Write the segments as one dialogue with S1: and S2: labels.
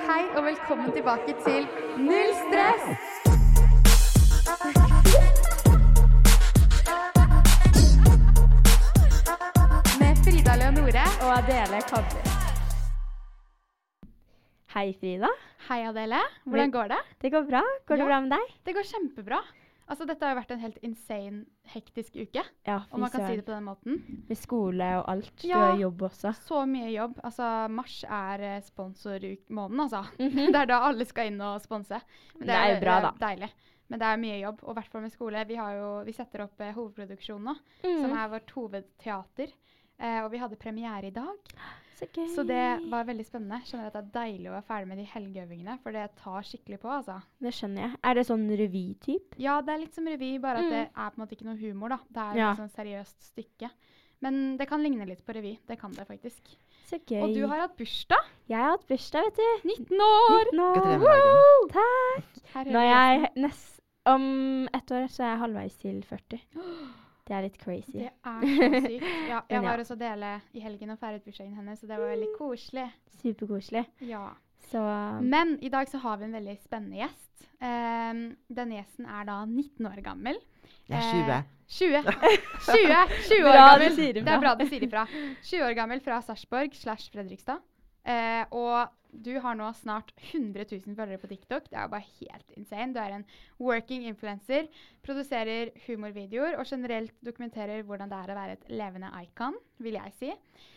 S1: Hei og velkommen tilbake til Null stress! Med Frida Leonore.
S2: og Adele Kobler. Hei, Frida.
S1: Hei, Adele. Hvordan går det?
S2: Det går bra. Går
S1: Ja.
S2: det bra med deg?
S1: Det går kjempebra. Altså, dette har jo vært en helt insane, hektisk uke.
S2: Ja,
S1: Om man kan si det på den måten.
S2: Med skole og alt. Du
S1: Ja.
S2: har jobb også.
S1: Så mye jobb. Altså, mars er eh, sponsormåneden, altså. Det er da alle skal inn og sponse. Men
S2: Mhm. Det er jo bra,
S1: det er Deilig. Men det er mye jobb, og i hvert fall med skole. Vi, har jo, vi setter opp eh, hovedproduksjon nå,
S2: Mhm.
S1: som er vårt hovedteater. Eh, og vi hadde premiere i dag.
S2: Så gøy.
S1: Så det var veldig spennende. Skjønner at det er deilig å være ferdig med de helgeøvingene, for det tar skikkelig på, altså.
S2: Det skjønner jeg. Er det sånn revytyp?
S1: Ja, det er litt som revy, bare at det er på en måte ikke noe humor, da. Det er
S2: Mhm. Ja.
S1: et sånn seriøst stykke. Men det kan ligne litt på revy. Det kan det faktisk.
S2: Så gøy.
S1: Og du har hatt bursdag!
S2: Jeg har hatt bursdag, vet du.
S1: 19 år!
S2: 19 år.
S3: Gratulerer med
S2: Woo! Takk.
S1: Her
S2: Nå
S1: hører
S2: er
S1: jeg-
S2: jeg nest... Om ett år så er jeg halvveis til 40. Det er litt crazy.
S1: Det er så sykt. Ja, jeg
S2: Men ja.
S1: var hos Adele i helgen og feiret bursdagen hennes, så det var veldig koselig.
S2: Superkoselig.
S1: Ja.
S2: Så
S1: Men i dag så har vi en veldig spennende gjest. Ehm, denne gjesten er da 19 år gammel.
S3: Jeg er
S1: Eh,
S3: 20.
S1: 20. 20, 20 år
S2: Bra du
S1: gammel.
S2: sier
S1: Det
S2: ifra.
S1: er bra du sier ifra. 20 år gammel fra Sarpsborg slash Fredrikstad. Eh, og du har nå snart 100 000 følgere på TikTok. Det er jo bare helt insane. Du er en working influencer, produserer humorvideoer og generelt dokumenterer hvordan det er å være et levende icon, vil jeg si.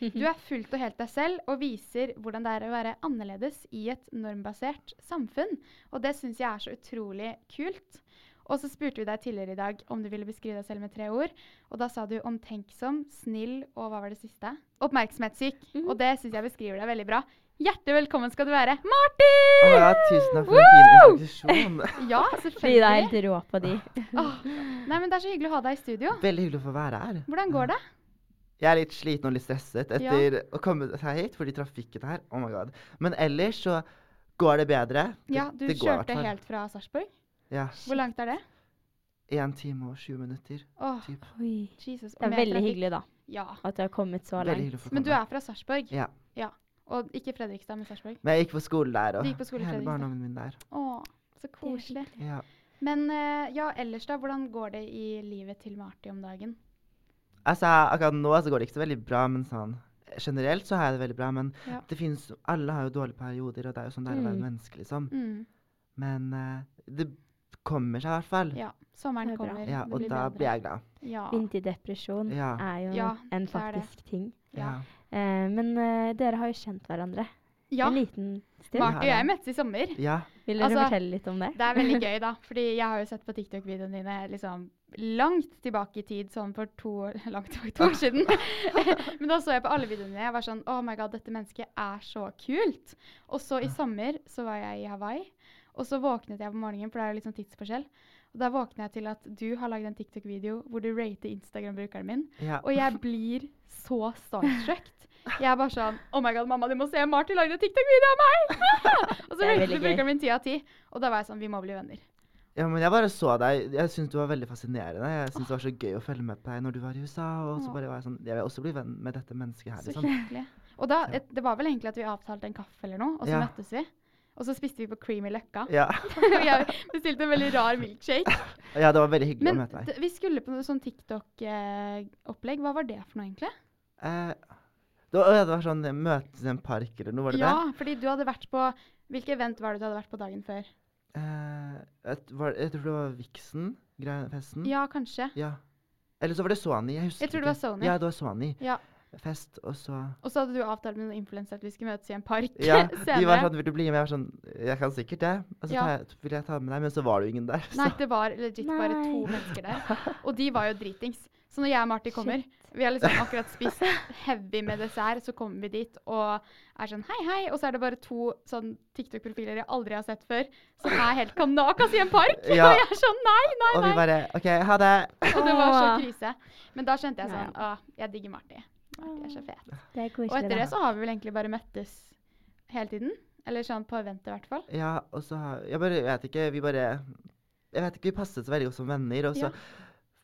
S1: Du er fullt og helt deg selv og viser hvordan det er å være annerledes i et normbasert samfunn. Og det syns jeg er så utrolig kult. Og så spurte vi deg tidligere i dag om du ville beskrive deg selv med tre ord. Og da sa du omtenksom, snill og hva var det siste? Oppmerksomhetssyk.
S3: Mhm.
S1: Og det syns jeg beskriver deg veldig bra. Hjertelig velkommen skal du være,
S3: Å,
S1: Martin!
S3: ja, tusen takk for en fin
S1: Woo!
S3: introduksjon.
S1: Ja,
S2: Frida er
S1: selvfølgelig.
S2: helt rå på de.
S1: Åh, Nei, men Det er så hyggelig å ha deg i studio.
S3: Veldig hyggelig å få være her.
S1: Hvordan går det?
S3: Jeg er litt sliten og litt stresset
S1: Ja.
S3: etter å komme seg hit, fordi trafikken her Oh my god. Men ellers så går det bedre. Det,
S1: Ja, Du
S3: det går i hvert
S1: kjørte
S3: fall.
S1: helt fra Sarpsborg.
S3: Ja.
S1: Hvor langt er det?
S3: Én time og 20 minutter.
S1: Åh,
S3: Typ.
S2: Oi.
S1: Jesus. og
S2: Det er
S1: med
S2: veldig
S1: trafikk.
S2: hyggelig, da.
S1: Ja.
S2: At du har kommet så
S3: Veldig
S2: langt.
S3: hyggelig å få komme.
S1: Men du er fra Sarpsborg?
S3: Ja.
S1: Og ikke Fredrikstad, men Sarpsborg?
S3: Men jeg gikk på skole der, og
S1: Du gikk på skole i
S3: hele
S1: Fredrikstad.
S3: barndommen min der.
S1: Å, så koselig.
S3: Ja.
S1: Men eh, ja, ellers da, hvordan går det i livet til Marti om dagen?
S3: Altså, akkurat nå så går det ikke så veldig bra, men sånn Generelt så har jeg det veldig bra, men
S1: Ja.
S3: det finnes Alle har jo dårlige perioder, og det er jo sånn det er å være
S2: Mm.
S3: menneske, liksom.
S1: Mm,
S3: Men eh, det kommer seg i hvert fall.
S1: ja, sommeren
S2: Det er bra.
S1: kommer.
S3: Ja,
S1: det
S3: og
S1: blir
S3: da
S1: bedre.
S3: blir jeg glad.
S1: ja.
S2: Vinterdepresjon
S3: Ja.
S2: er jo
S1: Ja,
S2: en
S1: det er det.
S2: faktisk ting.
S1: Ja.
S2: Eh, men eh, dere har jo kjent hverandre
S1: ja.
S2: en liten stund.
S3: Mark-
S1: Marti og jeg møttes i sommer.
S3: Ja.
S2: Vil dere
S1: altså-
S2: fortelle litt om det?
S1: Det er veldig gøy, da. Fordi jeg har jo sett på TikTok-videoene dine liksom langt tilbake i tid, sånn for to år, langt tilbake, to år siden. Men da så jeg på alle videoene dine. Jeg var sånn Oh my god, dette mennesket er så kult. Og så i sommer så var jeg i Hawaii. Og så våknet jeg på morgenen, for det er jo litt sånn tidsforskjell. Og da våkner jeg til at du har lagd en TikTok-video hvor du rater Instagram-brukeren min.
S3: ja.
S1: Og jeg blir så starstruck. Jeg er bare sånn Oh my god, mamma, du må se! Martin lagde en TikTok-video av meg! og så
S2: Det er
S1: ratet
S2: veldig gøy.
S1: brukeren min ti av ti. Og da var jeg sånn Vi må bli venner.
S3: Ja, men jeg bare så deg. Jeg syns du var veldig fascinerende. Jeg syns det var så gøy å følge med på deg når du var i USA. Og så
S1: Åh.
S3: bare var jeg sånn Jeg vil også bli venn med dette mennesket her,
S1: Så
S3: liksom.
S1: hyggelig. Og da, et- det var vel egentlig at vi avtalte en kaffe eller noe, og så
S3: Ja.
S1: møttes vi. Og så spiste vi på Creamy Løkka.
S3: Ja.
S1: Og jeg bestilte en veldig rar milkshake.
S3: ja, det var veldig hyggelig
S1: Men
S3: å møte deg.
S1: d- vi skulle på noe sånn TikTok-opplegg. Hva var det for noe, egentlig?
S3: Eh, Det var, ja, det var sånn eh, møtes i en park eller noe, var det
S1: ja,
S3: det?
S1: fordi du hadde vært på Hvilket event var det du hadde vært på dagen før?
S3: Eh, et, var, jeg tror det var Vixen, greia- festen.
S1: Ja, kanskje.
S3: Ja. Eller så var det Sony. Jeg husker
S1: Jeg tror det
S3: ikke.
S1: var Sony.
S3: Ja, det var Sony.
S1: Ja.
S3: Fest, og så
S1: Og så hadde du avtalt med noen influensere at vi skulle møtes i en park
S3: Ja,
S1: senere.
S3: de var sånn 'Vil du bli med?' Jeg var sånn 'Jeg kan sikkert det.' Og så
S1: Ja.
S3: tar jeg, ville jeg ta med deg, men så var det jo ingen der. Så.
S1: Nei, det var legit bare to
S2: Nei.
S1: mennesker der. Og de var jo dritings. Så når jeg og Marty kommer Vi har liksom akkurat spist heavy med dessert, så kommer vi dit og er sånn hei, hei, og så er det bare to sånn TikTok-profiler jeg aldri har sett før, som er helt kanakas i en park! Og
S3: Ja.
S1: jeg er sånn nei, nei,
S3: og vi
S1: nei!
S3: bare 'OK, ha det'.
S1: Og det var så
S2: Åh.
S1: krise. Men da skjønte jeg
S2: Ja.
S1: sånn åh, jeg digger Marty. Marty er så fet.
S2: Det er
S1: Og
S2: koselig.
S1: etter det
S2: da.
S1: så har vi vel egentlig bare møttes hele tiden. Eller sånn på eventet i hvert fall.
S3: Ja, og så har- Jeg bare jeg vet ikke, vi bare Jeg vet ikke, vi passet så veldig godt som venner, og så
S1: Ja.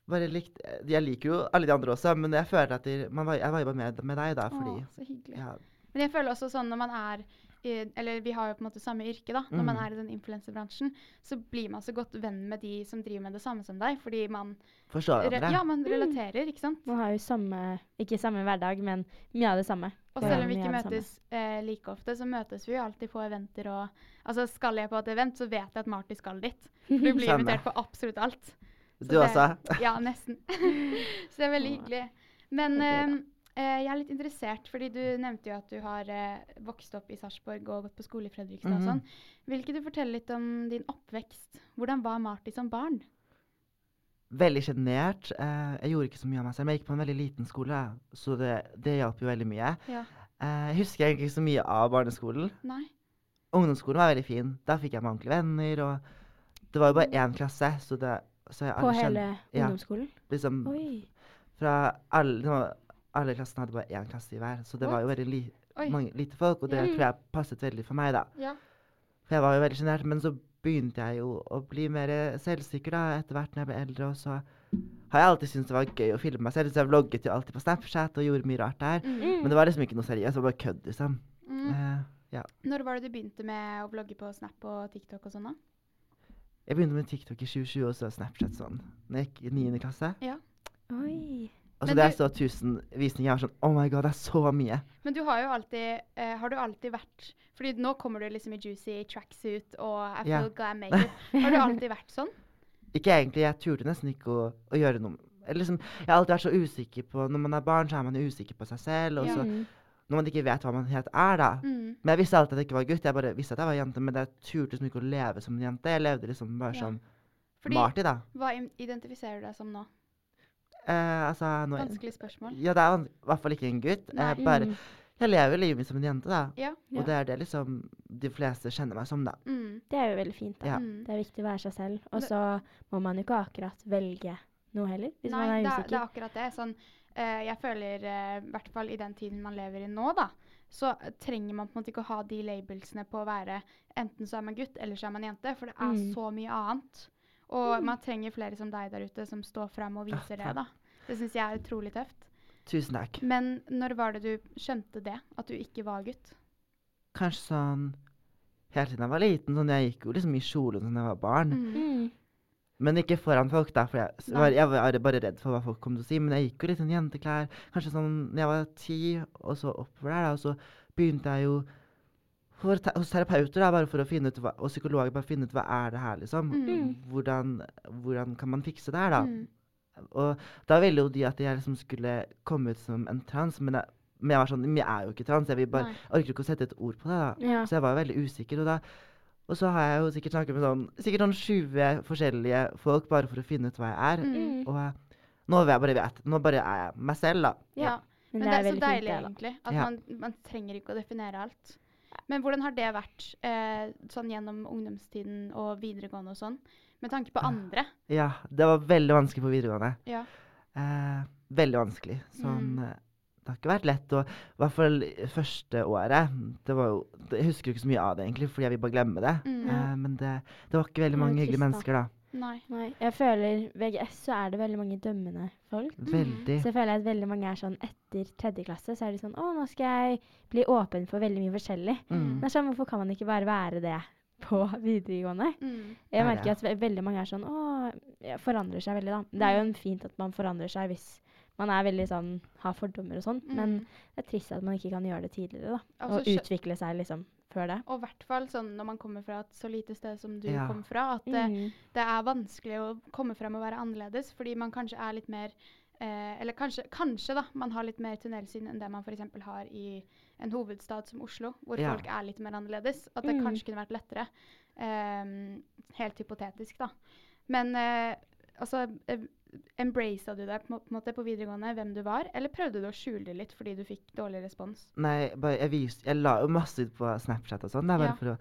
S3: bare likt Jeg liker jo alle de andre også, men jeg føler at de, man, var- jeg var jo bare med, med deg da, fordi
S1: Åh, så hyggelig.
S3: ja,
S1: Men jeg føler også sånn når man er i, Eller vi har jo på en måte samme yrke, da. Når man
S3: Mm.
S1: er i den influenserbransjen, så blir man så godt venn med de som driver med det samme som deg, fordi man,
S3: Forstår
S1: re
S3: hverandre.
S1: ja, man
S2: Mm.
S1: relaterer, ikke sant?
S2: Man har jo samme Ikke samme hverdag, men mye av det samme.
S1: Og
S2: Ja,
S1: selv om vi
S2: vi
S1: ikke
S2: er det samme.
S1: møtes eh, like ofte, så møtes vi jo alltid på eventer og Altså skal jeg på et event, så vet jeg at Marty skal dit. For du blir
S3: Samme.
S1: invitert på absolutt alt.
S3: Du
S1: det-
S3: også.
S1: Ja, nesten. så det er veldig
S2: Åh.
S1: hyggelig. Men
S2: Det er gøy,
S1: eh, eh, jeg er litt interessert, fordi du nevnte jo at du har eh, vokst opp i Sarpsborg og gått på skole i Fredrikstad
S3: Mhm.
S1: og sånn. Vil ikke du fortelle litt om din oppvekst? Hvordan var Marty som barn?
S3: Veldig sjenert. Eh, jeg gjorde ikke så mye av meg selv, men jeg gikk på en veldig liten skole, så det, det hjalp jo veldig mye.
S1: Ja.
S3: Eh, jeg husker egentlig ikke så mye av barneskolen.
S1: Nei?
S3: Ungdomsskolen var veldig fin. Da fikk jeg meg ordentlige venner, og det var jo bare én klasse, så det så jeg
S2: På
S3: alle kjen-
S2: hele
S3: ja.
S2: ungdomsskolen?
S3: liksom,
S2: Oi.
S3: fra alle, det var- alle klassene hadde bare én klasse i hver, så det var jo veldig li,
S1: Oi.
S3: mange lite folk, og det
S2: Ja.
S3: tror jeg passet veldig for meg, da.
S1: Ja.
S3: For jeg var jo veldig sjenert, men så begynte jeg jo å bli mer selvsikker da, etter hvert når jeg ble eldre. Og så har jeg alltid syntes det var gøy å filme meg selv, så jeg vlogget jo alltid på Snapchat og gjorde mye rart der.
S1: Mm.
S3: Men det var liksom ikke noe seriøst, det var bare kødd, liksom.
S1: Mm.
S3: Eh, ja.
S1: Når var det du begynte med å vlogge på Snap og TikTok og sånn? da?
S3: Jeg begynte med TikTok i 2020, og så Snapchat sånn. Når jeg gikk i 9. klasse.
S2: Oi.
S3: Og så
S1: Men
S3: da
S1: du-
S3: jeg så 1000 visninger, jeg var sånn Oh my god, det er så mye.
S1: Men du har jo alltid eh, Har du alltid vært Fordi nå kommer du liksom i juicy tracksuit og I
S3: Ja.
S1: feel glam makeup. Har du alltid vært sånn?
S3: Ikke egentlig, jeg turte nesten ikke å, å gjøre noe. Eller liksom, jeg har alltid vært så usikker på Når man er barn, så er man jo usikker på seg selv. Og
S1: Ja.
S3: så,
S2: Mm.
S3: når man ikke vet hva man helt er, da,
S1: Mm.
S3: Men jeg visste alltid at jeg ikke var gutt. Jeg bare visste at jeg var jente, men jeg turte liksom ikke å leve som en jente. Jeg levde liksom bare
S1: Ja.
S3: som
S1: Fordi,
S3: Marty, da.
S1: Hva im- identifiserer du deg som nå?
S3: Eh, altså, nå,
S1: Vanskelig spørsmål.
S3: ja, det er vans- i hvert fall ikke en gutt.
S1: Nei.
S3: Jeg, bare,
S2: Mm.
S3: jeg lever livet mitt som en jente, da.
S1: Ja.
S2: Ja.
S3: Og det er det liksom de fleste kjenner meg som, da.
S1: Mm.
S2: Det er jo veldig fint, da.
S3: Ja.
S1: Mm.
S2: Det er viktig å være seg selv. Og
S1: Det-
S2: så må man jo ikke akkurat velge noe heller, hvis
S1: Nei,
S2: man er
S1: det er,
S2: usikker.
S1: det er akkurat det. Sånn, eh, jeg føler, eh, i hvert fall i den tiden man lever i nå, da, så eh, trenger man på en måte ikke å ha de labelsene på å være enten så er man gutt, eller så er man jente, for det er
S2: Mm.
S1: så mye annet. Og man trenger flere som deg der ute, som står fram og viser det,
S3: takk.
S1: da. Det syns jeg er utrolig tøft.
S3: Tusen takk.
S1: Men når var det du skjønte det, at du ikke var gutt?
S3: Kanskje sånn helt siden jeg var liten. Sånn, jeg gikk jo liksom i kjole da jeg var barn.
S2: Mm.
S3: Men ikke foran folk, da, for jeg s-
S1: Nei.
S3: var, jeg var bare redd for hva folk kom til å si. Men jeg gikk jo litt sånn jenteklær. Kanskje sånn når jeg var ti, og så oppover der, da, og så begynte jeg jo for, te- hos terapeuter da, bare for å finne ut hva, og psykologer bare finne ut hva er det her, liksom.
S1: Mm.
S3: Hvordan, hvordan kan man fikse det her, da?
S1: Mm.
S3: Og da ville jo de at jeg liksom skulle komme ut som en trans, men jeg, men jeg var sånn Men jeg er jo ikke trans. Jeg, vil bare,
S1: Nei.
S3: jeg orker ikke å sette et ord på det, da.
S2: Ja.
S3: Så jeg var jo veldig usikker. Og, da, og så har jeg jo sikkert snakket med sånn, sikkert sånn 20 forskjellige folk bare for å finne ut hva jeg er.
S1: Mm.
S3: Og jeg, nå, vil jeg bare vet, nå bare er jeg meg selv, da.
S1: Ja.
S2: Men,
S1: Men
S2: det er,
S1: så
S2: veldig
S1: deilig,
S2: fint,
S1: egentlig. At
S3: Ja.
S1: man, man trenger ikke å definere alt. Men hvordan har det vært eh, sånn gjennom ungdomstiden og videregående og sånn? Med tanke på andre.
S3: Ja, det var veldig vanskelig på videregående.
S1: Ja.
S3: Eh, veldig vanskelig. Sånn,
S1: Mm.
S3: eh, Det har ikke vært lett. Og i hvert fall første året det var jo, det- Jeg husker jo ikke så mye av det, egentlig, fordi jeg vil bare glemme det.
S1: Mm.
S3: Eh, men det, det var ikke
S2: Det
S3: veldig
S2: var
S3: mange hyggelige
S2: trist,
S3: mennesker, da.
S1: Nei.
S2: da. Nei, jeg føler VGS så er det veldig mange dømmende folk.
S3: Veldig.
S2: Så jeg føler at veldig mange er sånn etter tredje klasse, så er de sånn Å, nå skal jeg bli åpen for veldig mye forskjellig.
S3: Mm.
S2: Det er sånn, hvorfor kan man ikke bare være det på videregående?
S1: Mm.
S2: Jeg
S3: Det er
S2: merker at ve- veldig mange er sånn Å, jeg forandrer seg veldig, da. Det er jo en fint at man forandrer seg hvis man er veldig sånn, har fordommer og sånn. Men
S1: Mm.
S2: det er trist at man ikke kan gjøre det tidligere. da.
S1: Altså,
S2: og
S1: skjø-
S2: utvikle seg liksom før det.
S1: Og i hvert fall sånn når man kommer fra et så lite sted som du
S3: Ja.
S1: kom fra, at eh,
S2: Mm.
S1: det er vanskelig å komme frem og være annerledes, fordi man kanskje er litt mer eh, Eller kanskje, kanskje, da, man har litt mer tunnelsyn enn det man f.eks. har i en hovedstad som Oslo, hvor
S3: Ja.
S1: folk er litt mer annerledes. At det
S2: Mm.
S1: kanskje kunne vært lettere. Ehm, helt hypotetisk, da. Men eh, altså eh, Embracet du deg på, en må- på en måte på videregående hvem du var, eller prøvde du å skjule det litt fordi du fikk dårlig respons?
S3: Nei, bare jeg, viste, jeg la jo masse ut på Snapchat og sånn. da, bare
S1: Ja.
S3: for å-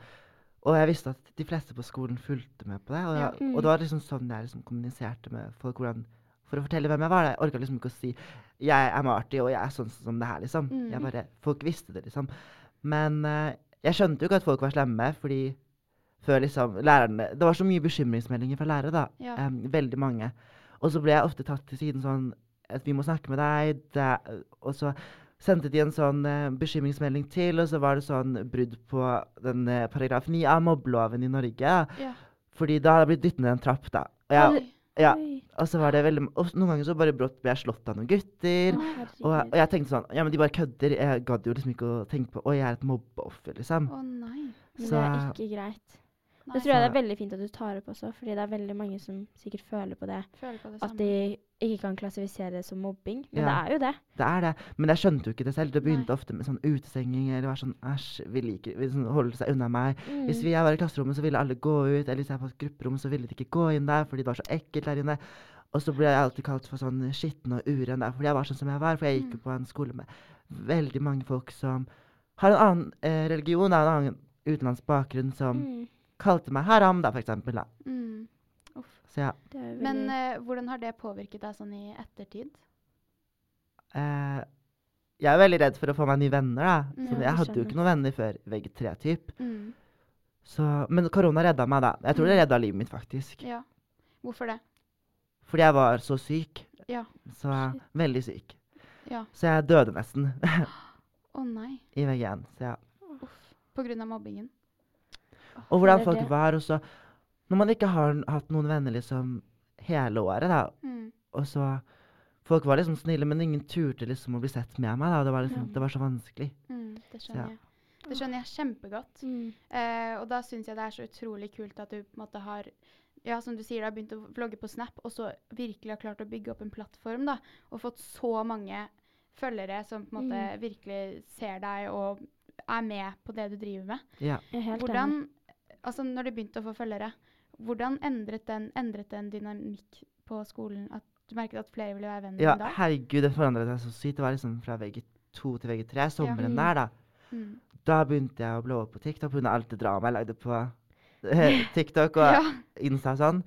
S3: Og jeg visste at de fleste på skolen fulgte med på det. Og,
S1: Ja. mm.
S3: jeg, og det var liksom sånn jeg liksom kommuniserte med folk hvordan, for å fortelle hvem jeg var. da. Jeg orka liksom ikke å si 'jeg er Marty, og jeg er sånn som det her', liksom. Jeg
S1: Mm.
S3: bare, folk visste det, liksom. Men eh, jeg skjønte jo ikke at folk var slemme, fordi før liksom lærerne Det var så mye bekymringsmeldinger fra lærere, da.
S1: Ja.
S3: Em, veldig mange. Og så ble jeg ofte tatt til siden sånn at vi må snakke med deg. Det, og så sendte de en sånn eh, bekymringsmelding til, og så var det sånn brudd på den eh, paragraf 9 av mobbeloven i Norge.
S1: Ja.
S3: Fordi da hadde jeg blitt dyttet ned en trapp, da. Og, jeg,
S1: Oi.
S3: ja,
S2: Oi,
S3: og så var det veldig Og noen ganger så bare brått ble jeg slått av noen
S2: å,
S3: gutter. Og,
S2: herregud.
S3: og jeg tenkte sånn Ja, men de bare kødder. Jeg gadd jo liksom ikke å tenke på Å, jeg er et mobbeoffer, liksom.
S1: Å nei.
S2: Men
S3: Så-
S2: det er ikke greit.
S1: nei.
S2: Det tror jeg det
S3: Så-
S2: er veldig fint at du tar opp også, fordi det er veldig mange som sikkert føler på det.
S1: Føler på det samme.
S2: At de ikke kan klassifisere det som mobbing. Men det
S3: Ja.
S2: er jo det.
S3: Det er det. Men jeg skjønte jo ikke det selv. Det begynte
S1: Nei.
S3: ofte med sånn utestenging eller være sånn Æsj, vi liker vi sånn, Holde seg unna meg. Hvis
S2: Mm.
S3: vi- jeg var i klasserommet, så ville alle gå ut. Eller hvis jeg var på et grupperom, så ville de ikke gå inn der fordi det var så ekkelt der inne. Og så ble jeg alltid kalt for sånn skitten og uren der, fordi jeg var sånn som jeg var. For jeg
S2: Mm.
S3: gikk jo på en skole med veldig mange folk som har en annen eh, religion, da, en annen utenlandsk bakgrunn, som
S2: Mm.
S3: kalte meg haram, da, for eksempel. Da.
S1: mm.
S3: Så ja.
S2: Det er jo
S1: Men
S2: veldig-
S1: eh, hvordan har det påvirket deg sånn i ettertid?
S3: Eh, jeg er veldig redd for å få meg nye venner, da.
S1: Ja,
S3: Så jeg
S2: det
S3: hadde jo
S2: skjønner.
S3: ikke noen venner før VG3-typ.
S1: Mm.
S3: Så, men korona redda meg, da. Jeg tror det redda livet mitt, faktisk.
S1: Ja. Hvorfor det?
S3: Fordi jeg var så syk.
S1: Ja.
S3: Så veldig syk.
S1: Ja.
S3: Så jeg døde nesten
S1: Å nei.
S3: i VG1. Så ja.
S1: På grunn av mobbingen.
S3: Og hvordan
S2: det er
S3: folk
S2: det.
S3: var. Og så Når man ikke har n- hatt noen venner liksom hele året, da,
S1: Mm.
S3: og så Folk var liksom snille, men ingen turte liksom å bli sett med meg. da. Det var, liksom, det var så vanskelig.
S1: Mm. Det
S3: Ja.
S1: skjønner jeg. Det skjønner jeg kjempegodt.
S2: Mm.
S1: Eh, og da syns jeg det er så utrolig kult at du på en måte har ja, som du sier, da, begynt å vlogge på Snap, og så virkelig har klart å bygge opp en plattform da, og fått så mange følgere som på en måte virkelig ser deg og er med på det du driver med.
S3: Ja.
S2: Jeg er helt
S1: Hvordan,
S2: enig.
S1: altså når de begynte å få følgere, hvordan endret den, endret den dynamikk på skolen? At du merket at flere ville være venn
S3: ja,
S1: din da?
S3: herregud, det forandret seg så sykt. Det var liksom fra VG2 til VG3, sommeren
S2: Mm.
S3: der, da.
S1: Mm.
S3: Da begynte jeg å blå opp på TikTok pga. alt det dramaet jeg lagde på eh, TikTok. Og
S1: Ja.
S3: Insta og sånn.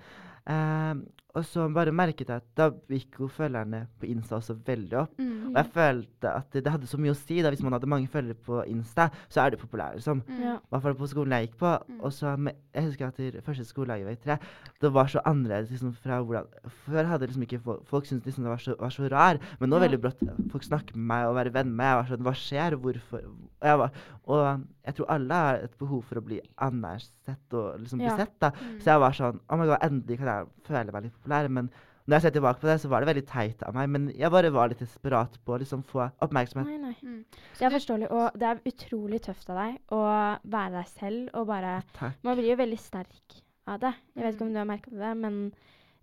S3: Ehm, og så bare merket jeg at da gikk jo følgerne på Insta også veldig opp.
S1: Mm.
S3: Og jeg følte at det, det hadde så mye å si. da, Hvis man hadde mange følgere på Insta, så er du populær. liksom.
S1: Mm.
S2: Ja.
S3: I hvert fall på skolen jeg gikk på.
S1: Mm.
S3: Og så, med- Jeg husker at det første skoledagen i VG3, det var så annerledes liksom, fra hvordan Før hadde liksom ikke folk, folk syntes liksom det var så, var så rar, men nå
S2: Ja.
S3: veldig brått folk snakker med meg og være venn med meg. Jeg var sånn Hva skjer? Hvorfor? Og jeg, var, og jeg tror alle har et behov for å bli anerkjent og liksom bli
S2: Ja.
S3: sett, da.
S1: Mm.
S3: Så jeg var sånn Oh my god, endelig kan jeg føle meg litt populær. Men når jeg ser tilbake på det, så var det veldig teit av meg. Men jeg bare var litt desperat på å liksom få oppmerksomhet.
S2: Nei, nei.
S1: Mm.
S2: Det er forståelig, og det er utrolig tøft av deg å være deg selv og bare
S3: Takk.
S2: Man blir jo veldig sterk av det. Jeg vet ikke
S1: Mm.
S2: om du har merka det, men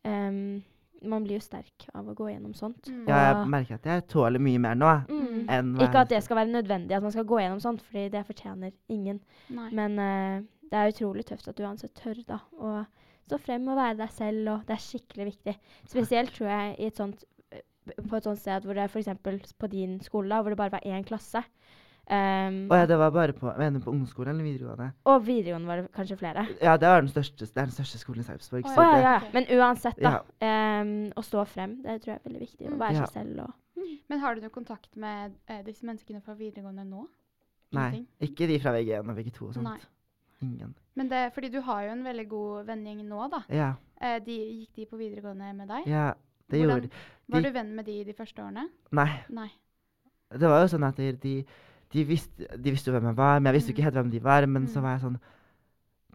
S2: ehm, man blir jo sterk av å gå gjennom sånt.
S1: Mm.
S3: Ja, jeg
S2: Og-
S3: merker at jeg tåler mye mer nå
S2: mm.
S3: enn hva
S2: Ikke at det skal være nødvendig at man skal gå gjennom sånt, fordi det fortjener ingen.
S1: Nei.
S2: Men eh, det er utrolig tøft at du uansett tør da, å stå frem og være deg selv, og det er skikkelig viktig. Spesielt tror jeg i et sånt, eh, på et sånt sted hvor det er f.eks. på din skole, da, hvor det bare var én klasse. Ehm,
S3: Å ja, det var bare på, mener du på ungskolen eller videregående?
S2: Og videregående var det kanskje flere.
S3: Ja, det var den største, det er den største skolen i Sarpsborg.
S1: Å
S3: så
S2: Å, ja,
S3: det-
S2: ja, ja. Men uansett, da.
S3: Ja.
S2: ehm, å stå frem. Det tror jeg er veldig viktig. Å
S1: Mm.
S2: være
S3: Ja.
S2: seg selv og
S1: Men har du noe kontakt med eh, disse menneskene fra videregående nå?
S3: Nei,
S1: Ingenting?
S3: ikke de fra VG1 og VG2 og sånt.
S1: Nei.
S3: Ingen.
S1: Men det, fordi du har jo en veldig god vennegjeng nå, da.
S3: Ja,
S1: Eh, de, gikk de på videregående med deg?
S3: ja, det
S1: Hvordan-
S3: gjorde de.
S1: Var
S3: de-
S1: du venn med de de første årene?
S3: Nei,
S1: Nei.
S3: det var jo sånn at de, de, de, visste, de visste jo hvem jeg var, men jeg visste jo ikke helt hvem de var. Men så
S1: Mm.
S3: var jeg sånn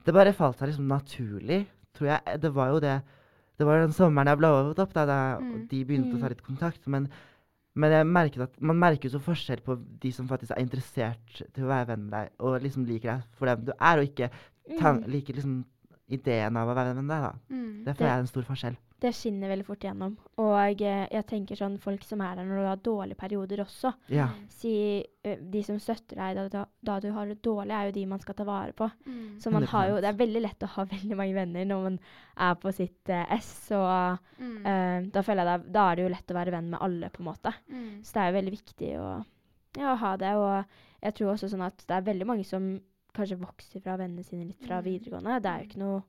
S3: Det bare falt seg liksom naturlig, tror jeg. Det var jo det Det var den sommeren jeg ble overvåket opp, da, da og
S1: Mm.
S3: de begynte å
S2: Mm.
S3: ta litt kontakt. Men Men jeg merket at man merker jo så forskjell på de som faktisk er interessert til å være venn med deg, og liksom liker deg for den du er, og ikke tan
S2: Mm.
S3: liker liksom ideen av å være venn med deg. da.
S1: Mm.
S3: Det
S2: Det-
S3: føler jeg er en stor forskjell.
S2: Det skinner veldig fort gjennom. Og eh, jeg tenker sånn folk som er der når du har dårlige perioder også.
S3: Ja.
S1: Mm,
S2: Si eh, de som støtter deg da, da, da du har det dårlig, er jo de man skal ta vare på.
S1: Mm.
S2: Så man har jo,
S3: 100%.
S2: det er veldig lett å ha veldig mange venner når man er på sitt eh, ess. Og
S1: Mm.
S2: eh, da føler jeg det, da er det jo lett å være venn med alle, på en måte.
S1: Mm.
S2: Så det er jo veldig viktig å, ja, å ha det. Og jeg tror også sånn at det er veldig mange som kanskje vokser fra vennene sine litt fra
S1: Mm.
S2: videregående. Det er jo ikke noe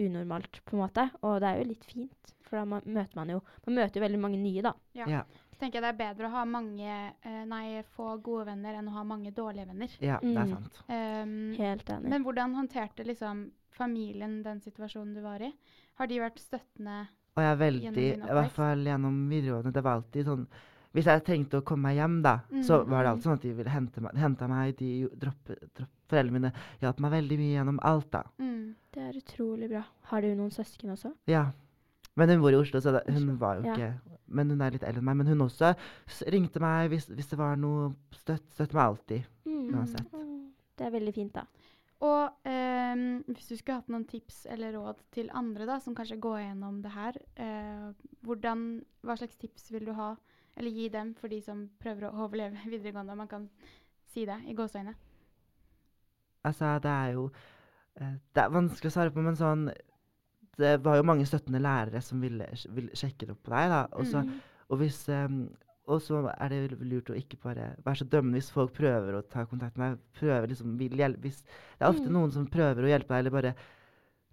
S2: unormalt, på en måte. Og det er jo litt fint, for da man, møter man jo Man møter jo veldig mange nye, da.
S1: Ja.
S3: Ja.
S1: Så tenker jeg det er bedre å ha mange, eh, nei, få gode venner enn å ha mange dårlige venner.
S3: ja, det
S2: Mm.
S3: er sant.
S1: Ehm,
S2: Helt enig.
S1: men hvordan håndterte liksom familien den situasjonen du var i? Har de vært støttende?
S3: Og jeg er
S1: Gjennom
S3: veldig,
S1: din
S3: i hvert
S1: oppvekst?
S3: fall gjennom videregående, det var alltid sånn Hvis jeg trengte å komme meg hjem, da, så
S1: Mm,
S3: var det
S1: mm.
S3: alltid sånn at de ville hente meg. Hente meg de jo- droppe, droppe, foreldrene mine hjalp meg veldig mye gjennom alt, da.
S1: Mm.
S2: Det er utrolig bra. Har du noen søsken også?
S3: Ja. Men hun bor i Oslo, så det, hun var jo
S2: ja.
S3: ikke Men hun er litt eldre enn meg. Men hun også s- ringte meg hvis, hvis det var noe støtt. Støtt meg alltid,
S1: Mm.
S3: uansett.
S2: Åh, Det er veldig fint, da.
S1: Og ehm, hvis du skulle hatt noen tips eller råd til andre da, som kanskje går gjennom det her, eh, hvordan, hva slags tips vil du ha, eller gi dem for de som prøver å overleve videregående, om man kan si det i gåseøyne?
S3: Altså, det er jo eh, Det er vanskelig å svare på, men sånn Det var jo mange støttende lærere som ville, ville sjekke opp på deg, da. Og
S1: Mm.
S3: så
S2: Mm.
S3: Og hvis ehm, og så er det vel lurt å ikke bare være så dømmende hvis folk prøver å ta kontakt med deg. prøver liksom, vil hjelpe, hvis Det er ofte
S2: Mm.
S3: noen som prøver å hjelpe deg, eller bare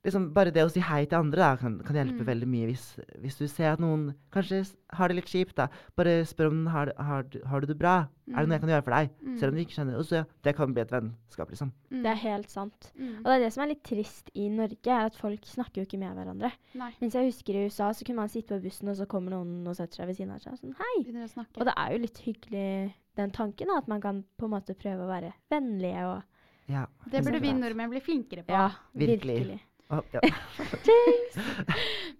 S3: liksom Bare det å si hei til andre da, kan, kan
S1: Mm.
S3: hjelpe veldig mye. Hvis, hvis du ser at noen kanskje s- har det litt kjipt, da, bare spør om den har, det- har, du- har du det bra. Er det noe jeg kan gjøre for deg?
S1: Mm.
S3: Selv om du ikke kjenner Og så, Det kan bli et vennskap, liksom.
S1: Mm.
S2: Det er helt sant.
S1: Mm.
S2: Og det er det som er litt trist i Norge, er at folk snakker jo ikke med hverandre.
S1: Nei,
S2: Mens jeg husker i USA, så kunne man sitte på bussen, og så kommer noen og setter seg ved siden av seg og sånn hei.
S1: begynner å snakke.
S2: Og det er jo litt hyggelig den tanken, da, at man kan på en måte prøve å være vennlige og
S3: Ja.
S1: Det burde vi
S3: Sånn.
S1: nordmenn bli flinkere på.
S2: Ja,
S3: virkelig.
S2: virkelig.
S3: Å, ja.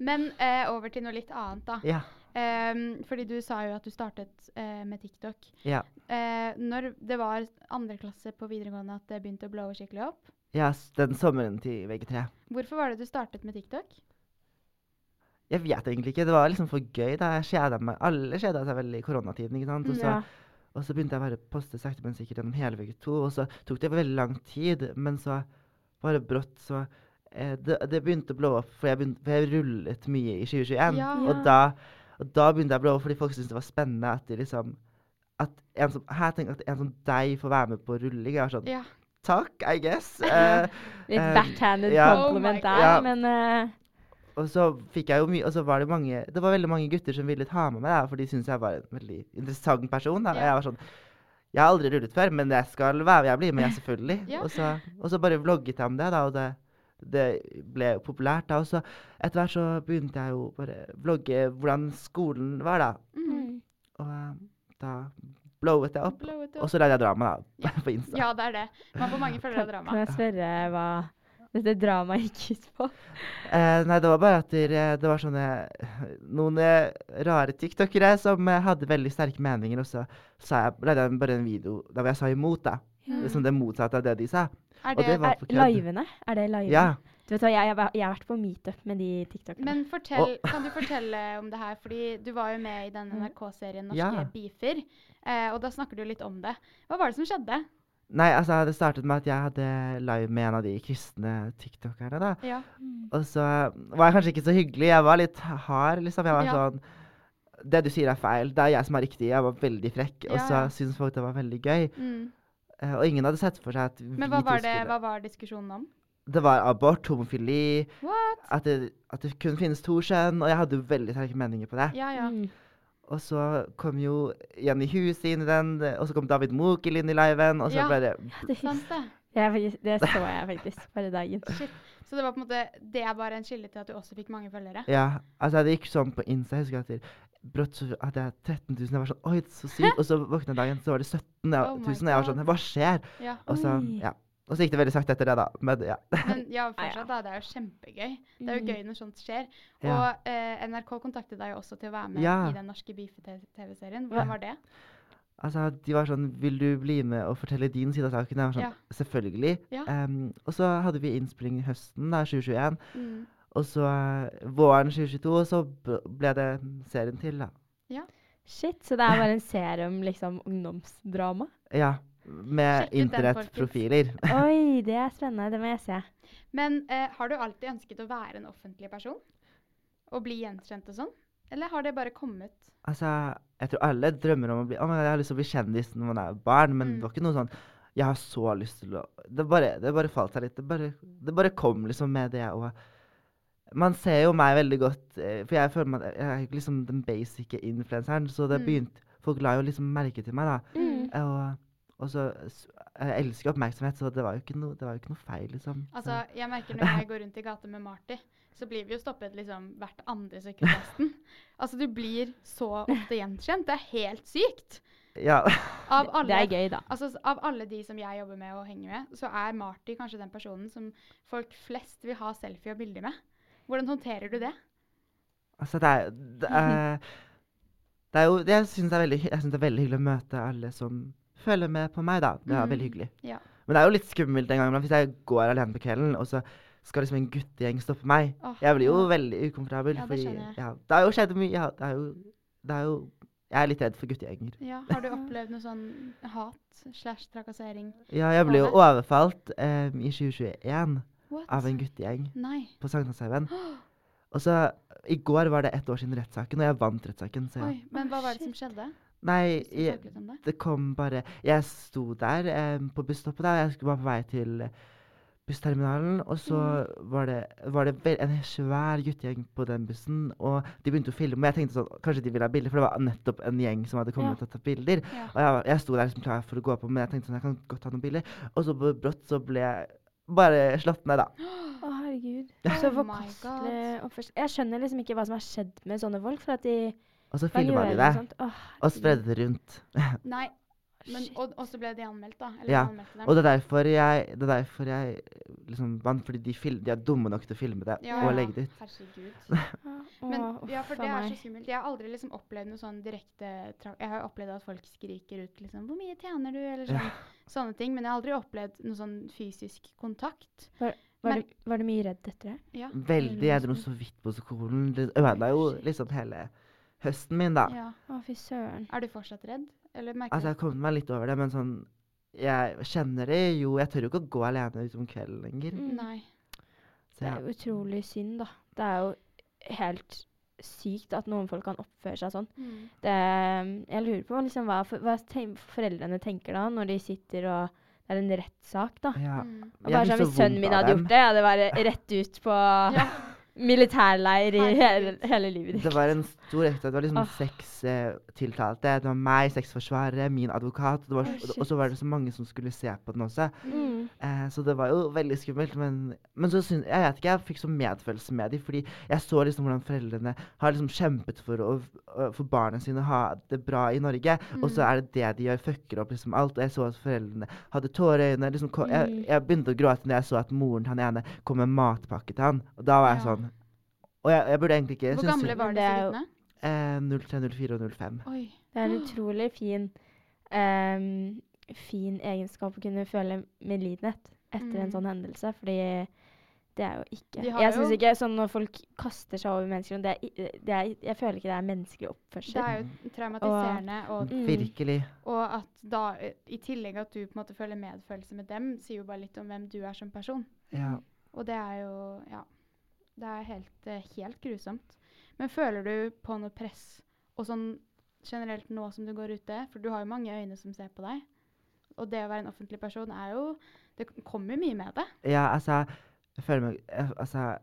S1: Men eh, over til noe litt annet, da.
S3: ja.
S1: Ehm, fordi du sa jo at du startet eh, med TikTok.
S3: Ja.
S1: Eh, når det var andre klasse på videregående at det begynte å blowe skikkelig opp,
S3: ja. s- Den sommeren til VG3.
S1: hvorfor var det du startet med TikTok?
S3: Jeg vet egentlig ikke. Det var liksom for gøy. da jeg kjeda meg. Alle kjeda seg veldig i koronatiden. ikke sant? Og så,
S2: Ja.
S3: og så begynte jeg bare å poste sakte, men sikkert gjennom hele VG2. Og så tok det veldig lang tid, men så bare brått så eh, det, det begynte å blå opp, for jeg, begynte, for jeg rullet mye i 2021.
S1: Ja.
S2: Ja.
S3: Og, da, og da begynte jeg å blå opp fordi folk syntes det var spennende at de liksom at en som, her tenker jeg at en som deg får være med på rulling. Jeg var sånn
S1: Ja.
S3: Takk, I guess. Eh,
S2: Litt
S3: Eh,
S2: backhanded
S3: ja.
S1: Oh
S2: compliment
S1: my
S2: der,
S3: God.
S2: men eh,
S3: Og så fikk jeg jo mye, og så var det mange Det var veldig mange gutter som ville ta med meg, da, for de syntes jeg var en veldig interessant person. Da. Og
S1: Ja.
S3: jeg var sånn Jeg har aldri rullet før, men jeg skal være med. Jeg blir med, jeg, selvfølgelig.
S1: Ja.
S3: og, så, og så bare vlogget jeg om det, da, og det, det ble jo populært. Da. Og så etter hvert så begynte jeg jo bare vlogge hvordan skolen var, da.
S1: Mm.
S3: Og eh, da blowet jeg opp.
S1: Blowet
S3: Og
S1: opp.
S3: så lagde jeg drama, da, på Insta.
S1: Ja, det er det. Man får mange følgere av
S2: Kan
S1: drama.
S2: jeg spørre hva dette dramaet gikk ut på?
S3: Eh, nei, det var bare at dere- det var sånne Noen eh, rare tiktokere som eh, hadde veldig sterke meninger, og så sa jeg lagde jeg bare en video der hvor jeg sa imot, da. Liksom det motsatte av det de sa.
S1: Mm. Er
S3: Og det
S1: det,
S3: var
S2: Er,
S3: på kødd.
S2: livene? Er det livene?
S3: Ja.
S2: Du vet hva, jeg, jeg, har- jeg har vært på meetup med de tiktokerne.
S1: men fortell, kan du fortelle om det her? Fordi du var jo med i den NRK-serien Norske
S3: Mm. Ja.
S1: beefer. eh, og da snakker du jo litt om det. Hva var det som skjedde?
S3: Nei, altså, det startet med at jeg hadde live med en av de kristne tiktokerne, da.
S1: Ja.
S2: Mm.
S3: Og så eh, var jeg kanskje ikke så hyggelig. Jeg var litt hard, liksom. Jeg var
S1: Ja.
S3: sånn Det du sier, er feil. Det er jeg som er riktig. Jeg var veldig frekk. Og
S1: Ja,
S3: så
S1: ja.
S3: syntes folk det var veldig gøy.
S1: Mm.
S3: Eh, og ingen hadde sett for seg at vi
S1: Men hva
S3: to
S1: var, det,
S3: skulle
S1: hva var diskusjonen om?
S3: Det var abort, homofili,
S1: What?
S3: at det, at det kun finnes to kjønn, og jeg hadde jo veldig sterke meninger på det.
S1: Ja, ja.
S2: Mm.
S3: Og så kom jo Jenny Huse inn i den, og så kom David Mokel inn i liven, og så
S1: Ja.
S3: bare
S2: Det,
S1: Sant det.
S2: jeg, faktisk- det så jeg faktisk bare dagen.
S1: Så det var på en måte, det var en kilde til at du også fikk mange følgere?
S3: Ja, altså det gikk sånn på Insta, jeg husker at det- brått så hadde jeg 13 000, jeg var sånn, oi, det er så sykt, og så våkna jeg dagen, så var det 17
S1: Oh my
S3: 000, og jeg var sånn, hva skjer?
S1: Ja.
S3: Og så,
S2: Oi.
S3: ja, Og så gikk det veldig sakte etter det, da. Men ja.
S1: Men ja,
S2: Ja, ja.
S1: fortsatt, da. Det er jo kjempegøy. Det er
S2: Mm.
S1: jo gøy når sånt skjer. Og
S3: Ja.
S1: eh, NRK kontaktet deg jo også til å være med
S3: Ja.
S1: i den norske beefe-TV-serien. Hvordan var det?
S3: Altså, de var sånn 'Vil du bli med og fortelle din side av saken?' Jeg var sånn
S1: Ja.
S3: 'Selvfølgelig'.
S1: Ja.
S3: Em, og så hadde vi innspilling høsten da, 2021.
S1: Mm.
S3: Og så eh, våren 2022 så b- ble det serien til, da.
S2: Shit, så det er bare en serie om liksom ungdomsdrama?
S3: Ja. Med
S1: Sjekk ut den,
S3: internettprofiler.
S2: Oi, det er spennende. Det må jeg se.
S1: Men eh, har du alltid ønsket å være en offentlig person? Og bli gjenkjent og sånn? Eller har det bare kommet?
S3: Altså, jeg tror alle drømmer om å bli Å, men jeg har lyst til å bli kjendis når man er barn, men
S1: Mm.
S3: det var ikke noe sånn Jeg har så lyst til å Det bare, det bare falt seg litt. Det bare, det bare kom liksom med det og Man ser jo meg veldig godt, eh, for jeg føler meg Jeg er ikke liksom den basic influenseren, så det
S1: Mm.
S3: begynte Folk la jo liksom merke til meg, da.
S2: Mm.
S3: Og, og så s- Jeg elsker jo oppmerksomhet, så det var jo ikke noe, det var jo ikke noe feil, liksom.
S1: Altså, jeg merker når jeg går rundt i gata med Marty, så blir vi jo stoppet liksom hvert andre sekund nesten. Altså, du blir så ofte gjenkjent. Det er helt sykt.
S3: så, ja.
S1: Av alle,
S2: Det er gøy, da.
S1: Altså, s- av alle de som jeg jobber med og henger med, så er Marty kanskje den personen som folk flest vil ha selfie og bilder med. Hvordan håndterer du det?
S3: Altså, det er, det er, det er jo Jeg syns det, er veldig hy- jeg synes det er veldig hyggelig å møte alle som følger med på meg, da.
S1: Mm.
S3: Det er veldig hyggelig.
S1: Ja.
S3: Men det er jo litt skummelt en gang iblant hvis jeg går alene på kvelden, og så skal liksom en guttegjeng stoppe meg.
S1: Åh,
S3: Jeg blir jo
S1: ja.
S3: veldig ukomfortabel,
S1: Ja, det
S3: fordi
S1: skjønner jeg.
S3: ja, Det har jo skjedd mye. Ja, det er jo, det er jo Jeg er litt redd for guttegjenger.
S1: Ja, har du opplevd noe sånn hat slash trakassering?
S3: Ja, jeg ble jo overfalt eh, i 2021
S1: What?
S3: av en guttegjeng
S1: Nei.
S3: på Sankthanshaugen. Og så I går var det ett år siden rettssaken, og jeg vant rettssaken, så ja.
S1: Oi, men hva var det som skjedde?
S3: Nei,
S1: Hvis du
S3: jeg,
S1: snakker litt om det.
S3: det kom bare Jeg sto der eh, på busstoppet, der, og jeg skulle var på vei til bussterminalen. Og så
S1: Mm.
S3: var det, var det vel- en svær guttegjeng på den bussen, og de begynte å filme. Og jeg tenkte sånn, kanskje de ville ha bilder, for det var nettopp en gjeng som hadde kommet og tatt bilder.
S1: Ja.
S3: Og jeg, jeg sto der liksom klar for å gå på, men jeg tenkte sånn, jeg kan godt ta noen bilder. Og så br- brått så ble jeg bare slått ned, da.
S2: Å, herregud.
S1: Ja.
S2: Så
S1: Oh my
S2: forkastelig oppførsel. Jeg skjønner liksom ikke hva som har skjedd med sånne folk. For at de
S3: Og så
S2: hva
S3: filma
S2: gjør
S3: de
S2: de
S3: det,
S2: og sånt? Åh,
S3: og spredde det rundt.
S1: Nei, men,
S2: shit.
S1: og, og så ble de anmeldt, da? Eller
S3: Ja,
S1: du anmeldte dem?
S3: Og det er derfor jeg, det er derfor jeg liksom vant, fordi de, fil, de er dumme nok til å filme det
S1: Ja,
S3: og
S1: ja.
S3: legge det ut.
S1: Herregud.
S2: Åh,
S1: Men,
S2: uff
S1: ja, for
S2: a
S1: det er så
S2: meg.
S1: skummelt. Jeg har aldri liksom opplevd noe sånn direkte tra- Jeg har jo opplevd at folk skriker ut liksom 'Hvor mye tjener du?' eller sånn, sånne ting. Men jeg har aldri opplevd noe sånn fysisk kontakt.
S2: var,
S1: Men-
S2: du, var du mye redd etter det?
S1: Ja.
S3: Veldig. Jeg dro så vidt på skolen. Det ødela jo
S2: Shit.
S3: liksom hele høsten min, da.
S1: ja.
S2: Å, fy søren.
S1: Er du fortsatt redd? Eller merker
S3: Altså, jeg har kommet meg litt over det, men sånn Jeg kjenner det jo Jeg tør jo ikke å gå alene ut om kvelden lenger.
S2: Mm.
S1: du Mm. Nei.
S3: Så
S2: Det
S3: jeg,
S2: er jo utrolig synd, da. Det er jo helt sykt at noen folk kan oppføre seg sånn.
S1: Mm.
S2: Det, eh, jeg lurer på liksom, hva, for, hva ten, foreldrene tenker da, når de sitter og Det er en rettssak, da.
S3: ja.
S1: Mm.
S2: Og bare
S3: fikk
S2: sånn,
S3: så
S2: Hvis sønnen
S3: vondt
S2: min
S3: av
S2: hadde
S3: dem.
S2: gjort det, hadde det vært rett ut på
S1: Ja.
S2: militærleir i hele,
S1: Herregud.
S2: hele livet ditt.
S3: Det var en stor rekke. Det var liksom
S2: Åh.
S3: seks eh, tiltalte. Det var meg, seks forsvarere, min advokat. Det var,
S2: Åh,
S3: og så var det så mange som skulle se på den også.
S2: Mm.
S3: Eh, så det var jo veldig skummelt. Men, men så syns- jeg vet ikke, jeg fikk så medfølelse med dem. Fordi jeg så liksom hvordan foreldrene har liksom kjempet for å å- for barna sine å ha det bra i Norge. Og
S1: Mm.
S3: så er det det de gjør. Fucker opp liksom alt. Og jeg så at foreldrene hadde tårer i øynene. Liksom, ko-
S1: Mm.
S3: jeg, jeg begynte å gråte når jeg så at moren han ene kom med matpakke til han. Og da var jeg
S1: Ja.
S3: sånn Og jeg, jeg burde egentlig ikke
S1: Hvor gamle var disse
S2: Men det er jo-
S1: guttene?
S3: Eh, 03, 04 og 05.
S1: Oi.
S2: Det er en utrolig fin, ehm, fin egenskap å kunne føle medlidenhet etter en
S1: Mm.
S2: sånn hendelse. Fordi det er jo ikke
S1: De har
S2: Jeg syns
S1: jo-
S2: ikke sånn når folk kaster seg over mennesker det er, i- det er, Jeg føler ikke det er menneskelig
S1: Det
S2: oppførsel.
S1: er jo traumatiserende. Og,
S2: Mm.
S3: Virkelig.
S1: og at da, i tillegg at du på en måte føler medfølelse med dem, sier jo bare litt om hvem du er som person.
S3: Ja.
S1: Og det er jo Ja. Det er helt, eh, helt grusomt. Men føler du på noe press og sånn generelt nå som du går ute? For du har jo mange øyne som ser på deg. Og det å være en offentlig person er jo Det k- kommer mye med det.
S3: Ja, altså Jeg føler meg jeg, Altså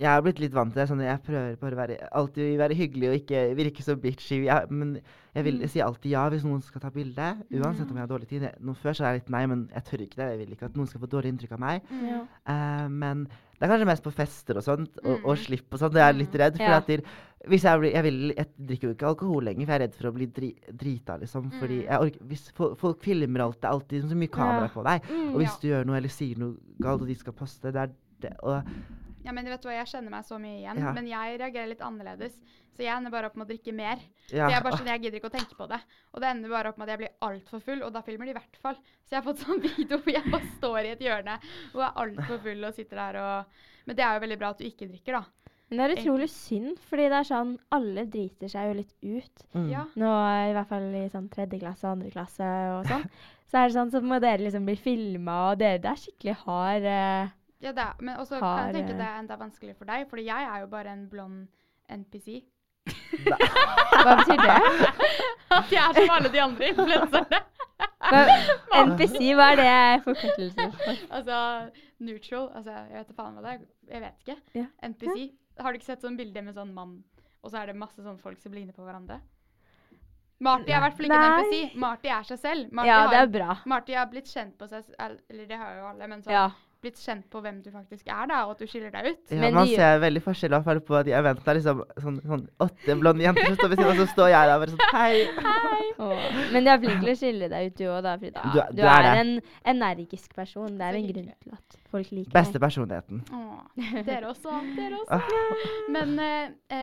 S3: Jeg har blitt litt vant til det. Sånn, jeg prøver bare å være, alltid være hyggelig og ikke virke så bitchy. Jeg, men jeg vil si alltid ja hvis noen skal ta bilde, uansett om jeg har dårlig tid. Jeg, nå før så er jeg litt nei, men jeg tør ikke det. Jeg vil ikke at noen skal få dårlig inntrykk av meg.
S2: Ja.
S3: Eh, men det er kanskje mest på fester og sånt, og, og slipp og sånt. Jeg er litt redd. For
S2: Ja.
S3: at til, hvis jeg, blir, jeg, vil, jeg drikker jo ikke alkohol lenger, for jeg er redd for å bli dri, drita, liksom. Fordi jeg orker, hvis folk, folk filmer alt, det er alltid så mye kamera på deg.
S1: Mm.
S3: Og hvis du gjør noe eller sier noe galt, og de skal poste, det er det. Og,
S1: Ja, men vet du hva, Jeg kjenner meg så mye igjen,
S3: Ja.
S1: men jeg reagerer litt annerledes. Så jeg ender bare opp med å drikke mer.
S3: ja.
S1: For jeg, er bare sånn, jeg gidder ikke å tenke på det. Og det ender bare opp med at jeg blir altfor full, og da filmer de i hvert fall. Så jeg har fått sånn video hvor jeg bare står i et hjørne og er altfor full og sitter der og Men det er jo veldig bra at du ikke drikker, da.
S2: Men det er utrolig synd, fordi det er sånn alle driter seg jo litt ut.
S3: Mm.
S1: Ja.
S2: Nå i hvert fall i sånn tredje klasse og andre klasse og sånn. Så er det sånn, så må dere liksom bli filma, og dere det er skikkelig hard eh,
S1: ja det er, men også kan
S2: Har,
S1: jeg tenke
S2: eh,
S1: det er enda vanskeligere for deg, fordi jeg er jo bare en blond NPC.
S2: Hva betyr det?
S1: At jeg er som alle de andre influenserne.
S2: Hva, NPC, hva er det forkortelsen for?
S1: Altså neutral altså, Jeg vet da faen hva det er. Jeg vet ikke.
S2: Ja.
S1: NPC. Har du ikke sett sånn bilde med sånn mann, og så er det masse sånn folk som ligner på hverandre? Marty er i hvert fall ikke en
S2: Nei.
S1: NPC. Marty er seg selv. Marty,
S2: Ja,
S1: har,
S2: det er bra.
S1: Marty har blitt kjent på seg s- el- Eller det har jo alle, men sånn,
S2: Ja.
S1: blitt kjent på hvem du faktisk er, da, og at du skiller deg ut.
S3: Ja,
S2: Men
S3: man
S2: de-
S3: ser veldig forskjell i hvert fall på de eventene. Liksom, sånn, sånn åtte blonde jenter som står ved siden, av, og så står jeg der bare sånn Hei!
S2: Åh, Men du er flink til å skille deg ut, du òg, da, Frida.
S3: Du er- du er det.
S2: en energisk person. Det er
S1: Så
S2: en grunn
S1: hyggelig.
S2: til at folk liker deg.
S3: Beste personligheten.
S1: Åh, dere også. Dere
S2: Ah.
S1: også. Men eh, eh,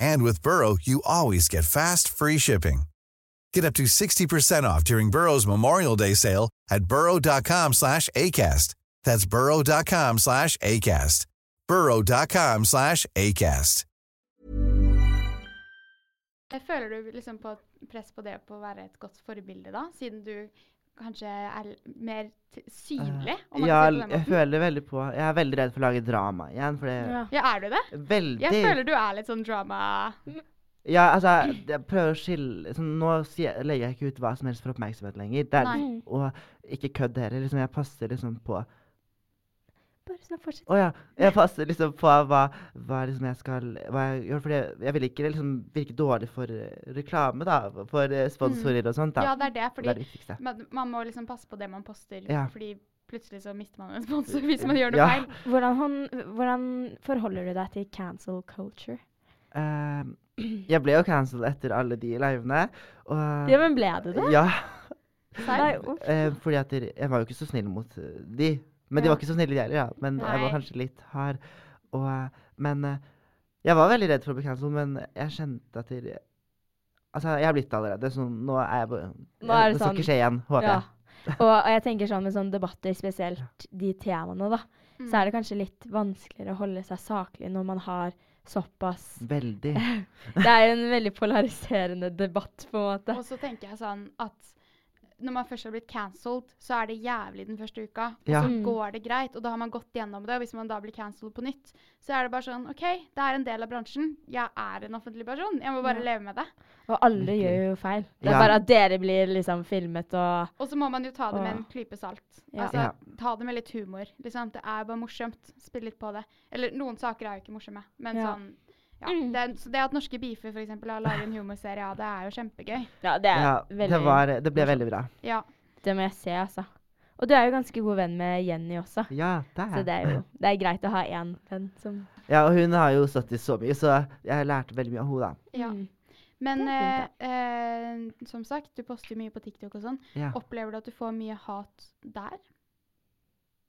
S4: And with Burrow, you always get fast, free shipping. Get up to 60% off during Burrow's Memorial Day sale at burrow.com slash ACAST. That's burrow.com slash ACAST. burrow.com slash ACAST.
S1: føler du liksom på et press på det på å være et godt forbilde, da? Siden du kanskje er l- mer t synlig? Om man
S3: Ja,
S1: kan si det på den
S3: jeg
S1: måten.
S3: føler veldig på Jeg er veldig redd for å lage drama igjen, for det
S2: Ja.
S1: Ja, er du det?
S3: Veldig.
S1: Jeg føler du er litt sånn drama
S3: Ja, altså, jeg- jeg prøver å skille sånn, Nå sier, legger jeg ikke ut hva som helst for oppmerksomhet lenger. Det er,
S1: Nei.
S3: og ikke kødd heller. Liksom, jeg passer liksom på
S2: Bare sånn, fortsett.
S3: Å ja. Jeg passer liksom på hva, hva liksom jeg skal hva jeg gjør. For jeg, jeg vil ikke liksom virke dårlig for eh, reklame, da. For eh,
S2: Mm.
S3: sponsorer og sånt. da.
S1: Ja, det er det,
S3: det er
S1: fordi
S3: det viktigste.
S1: man, man må liksom passe på det man poster,
S3: Ja.
S1: fordi plutselig så mister man en sponsor hvis man gjør noe
S3: Ja.
S1: feil.
S2: Hvordan, hånd- hvordan forholder du deg til cancel culture?
S3: Ehm, jeg ble jo cancelled etter alle de livene. Og
S2: Ja, men ble det det?
S3: Ja,
S1: Serr?
S2: Nei, uff.
S3: eh, fordi at dere- jeg var jo ikke så snill mot eh, de. Men de
S2: Ja.
S3: var ikke så snille, de heller. Ja. Men jeg var
S1: Nei.
S3: kanskje litt hard. Og, eh, men eh, jeg var veldig redd for å bli cancelled, men jeg kjente at dere- Altså, jeg er blitt det allerede, så nå er jeg bare
S2: Nå er det
S3: Det skal
S2: sånn.
S3: ikke skje igjen, håper
S2: Ja.
S3: jeg.
S2: Og, og jeg tenker sånn med sånne debatter, spesielt de temaene, da, så er det kanskje litt vanskeligere å holde seg saklig når man har såpass
S3: Mm. Veldig.
S2: Det er jo en veldig polariserende debatt, på en måte.
S1: Og så tenker jeg sånn at når man først har blitt cancelled, så er det jævlig den første uka. Og
S3: Ja.
S1: så
S2: Mm.
S1: går det greit, og da har man gått gjennom det. Og hvis man da blir cancelled på nytt, så er det bare sånn OK, det er en del av bransjen. Jeg er en offentlig person. Jeg må bare leve med det.
S2: Og alle gjør jo feil. Det er
S3: Ja.
S2: bare at dere blir liksom filmet og
S1: Og så må man jo ta det med en
S2: Åh.
S1: klype salt.
S2: Ja.
S1: Altså,
S3: Ja.
S1: Ta det med litt humor. Liksom. Det er bare morsomt. Spill litt på det. Eller noen saker er jo ikke morsomme, men
S2: Ja.
S1: sånn
S2: Mm.
S1: ja. Det, er- så det at norske beefer for eksempel, har laget en humorserie, ja, det er jo kjempegøy.
S2: Ja, det er
S3: Ja,
S2: veldig
S3: det, var, det ble veldig bra.
S1: Ja.
S2: Det må jeg se, altså. Og du er jo ganske god venn med Jenny også.
S3: Ja, det
S2: Så
S3: er
S2: det er jo det er greit å ha én venn som
S3: Ja, og hun har jo stått i så mye, så jeg lærte veldig mye av henne, da.
S1: ja.
S2: Mm.
S1: Men
S2: Det er
S1: eh, eh, som sagt, du poster mye på TikTok og sånn.
S3: Ja.
S1: Opplever du at du får mye hat der?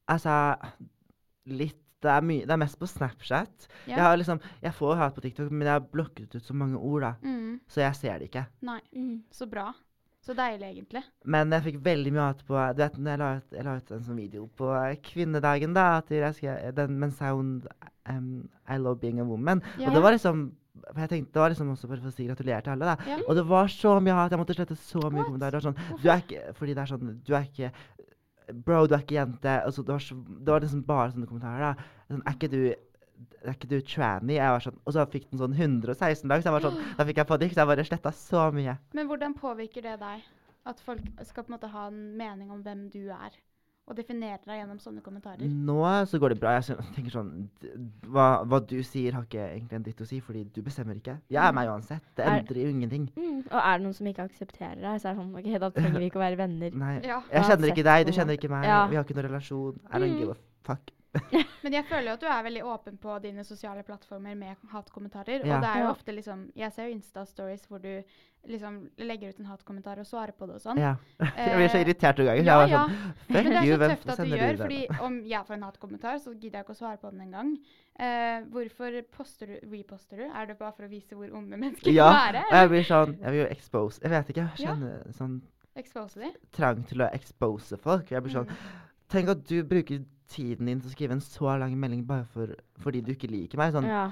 S3: Altså Litt det er, mye, det er mest på Snapchat.
S1: Ja.
S3: Jeg, har liksom, jeg får jo hat på TikTok, men jeg har blokket ut så mange ord, da.
S1: Mm,
S3: Så jeg ser det ikke.
S1: nei,
S2: Mm.
S1: så bra. Så deilig, egentlig.
S3: Men jeg fikk veldig mye hat på Du vet, når jeg la ut, jeg la ut en sånn video på eh, kvinnedagen, da, at jeg skrev den med en sound em, I love being a woman.
S1: Ja.
S3: Og det var liksom for jeg tenkte, Det var liksom også bare for å si gratulerer til alle. da.
S1: Ja.
S3: Og det var så mye hat. Jeg måtte slette så mye
S1: What?
S3: kommentarer. det var Sånn, du er ikke, fordi det er sånn Du er ikke Bro, du er ikke jente. Altså, det, var så, det var liksom bare sånne kommentarer. da. Sånn, er ikke du er ikke du tranny? Jeg var sånn, og så fikk den sånn 116 dager. Så jeg var sånn, da fikk jeg panikk. Så jeg bare sletta så mye.
S1: Men hvordan påvirker det deg? At folk skal på en måte ha en mening om hvem du er, og definere deg gjennom sånne kommentarer?
S3: Mm. Nå så går det bra. Jeg syn- tenker sånn d- d- hva, hva du sier, har ikke egentlig en dritt å si, fordi du bestemmer ikke. Jeg
S1: Mm.
S3: er meg uansett. Det
S2: Er-
S3: endrer jo ingenting.
S2: Mm. Og er det noen som ikke aksepterer deg, så er det sånn OK, da trenger vi ikke å være venner.
S3: Nei.
S1: Ja.
S3: Jeg kjenner
S2: Uansett
S3: ikke deg, du
S2: på en
S3: kjenner ikke meg.
S2: Ja.
S3: Vi har ikke noen relasjon. I don't
S2: Mm.
S3: give a fuck.
S1: Men jeg føler jo at du er veldig åpen på dine sosiale plattformer med hatkommentarer.
S3: Ja.
S1: Og det er jo
S2: Ja.
S1: ofte liksom Jeg ser jo Insta-stories hvor du liksom legger ut en hatkommentar og svarer på det og sånn.
S3: Ja. Jeg blir så irritert noen ganger.
S1: ja,
S3: så jeg var
S1: ja.
S3: sånn,
S1: Men det
S3: fuck you,
S1: er så
S3: hvem
S1: tøft at du
S3: sender
S1: gjør,
S3: det?
S1: fordi om jeg får en hatkommentar, så gidder jeg ikke å svare på den engang. Eh, hvorfor poster du, reposter du? Er det bare for å vise hvor onde mennesker
S3: ja,
S1: kan være?
S3: og jeg blir sånn Jeg blir jo expose. Jeg vet ikke, jeg
S1: Ja.
S3: kjenner sånn
S1: Expose de?
S3: trang til å expose folk. Jeg blir sånn
S1: Mm.
S3: Tenk at du bruker tiden din til å skrive en så lang melding bare for, fordi du ikke liker meg. Sånn, ja,
S2: Ja.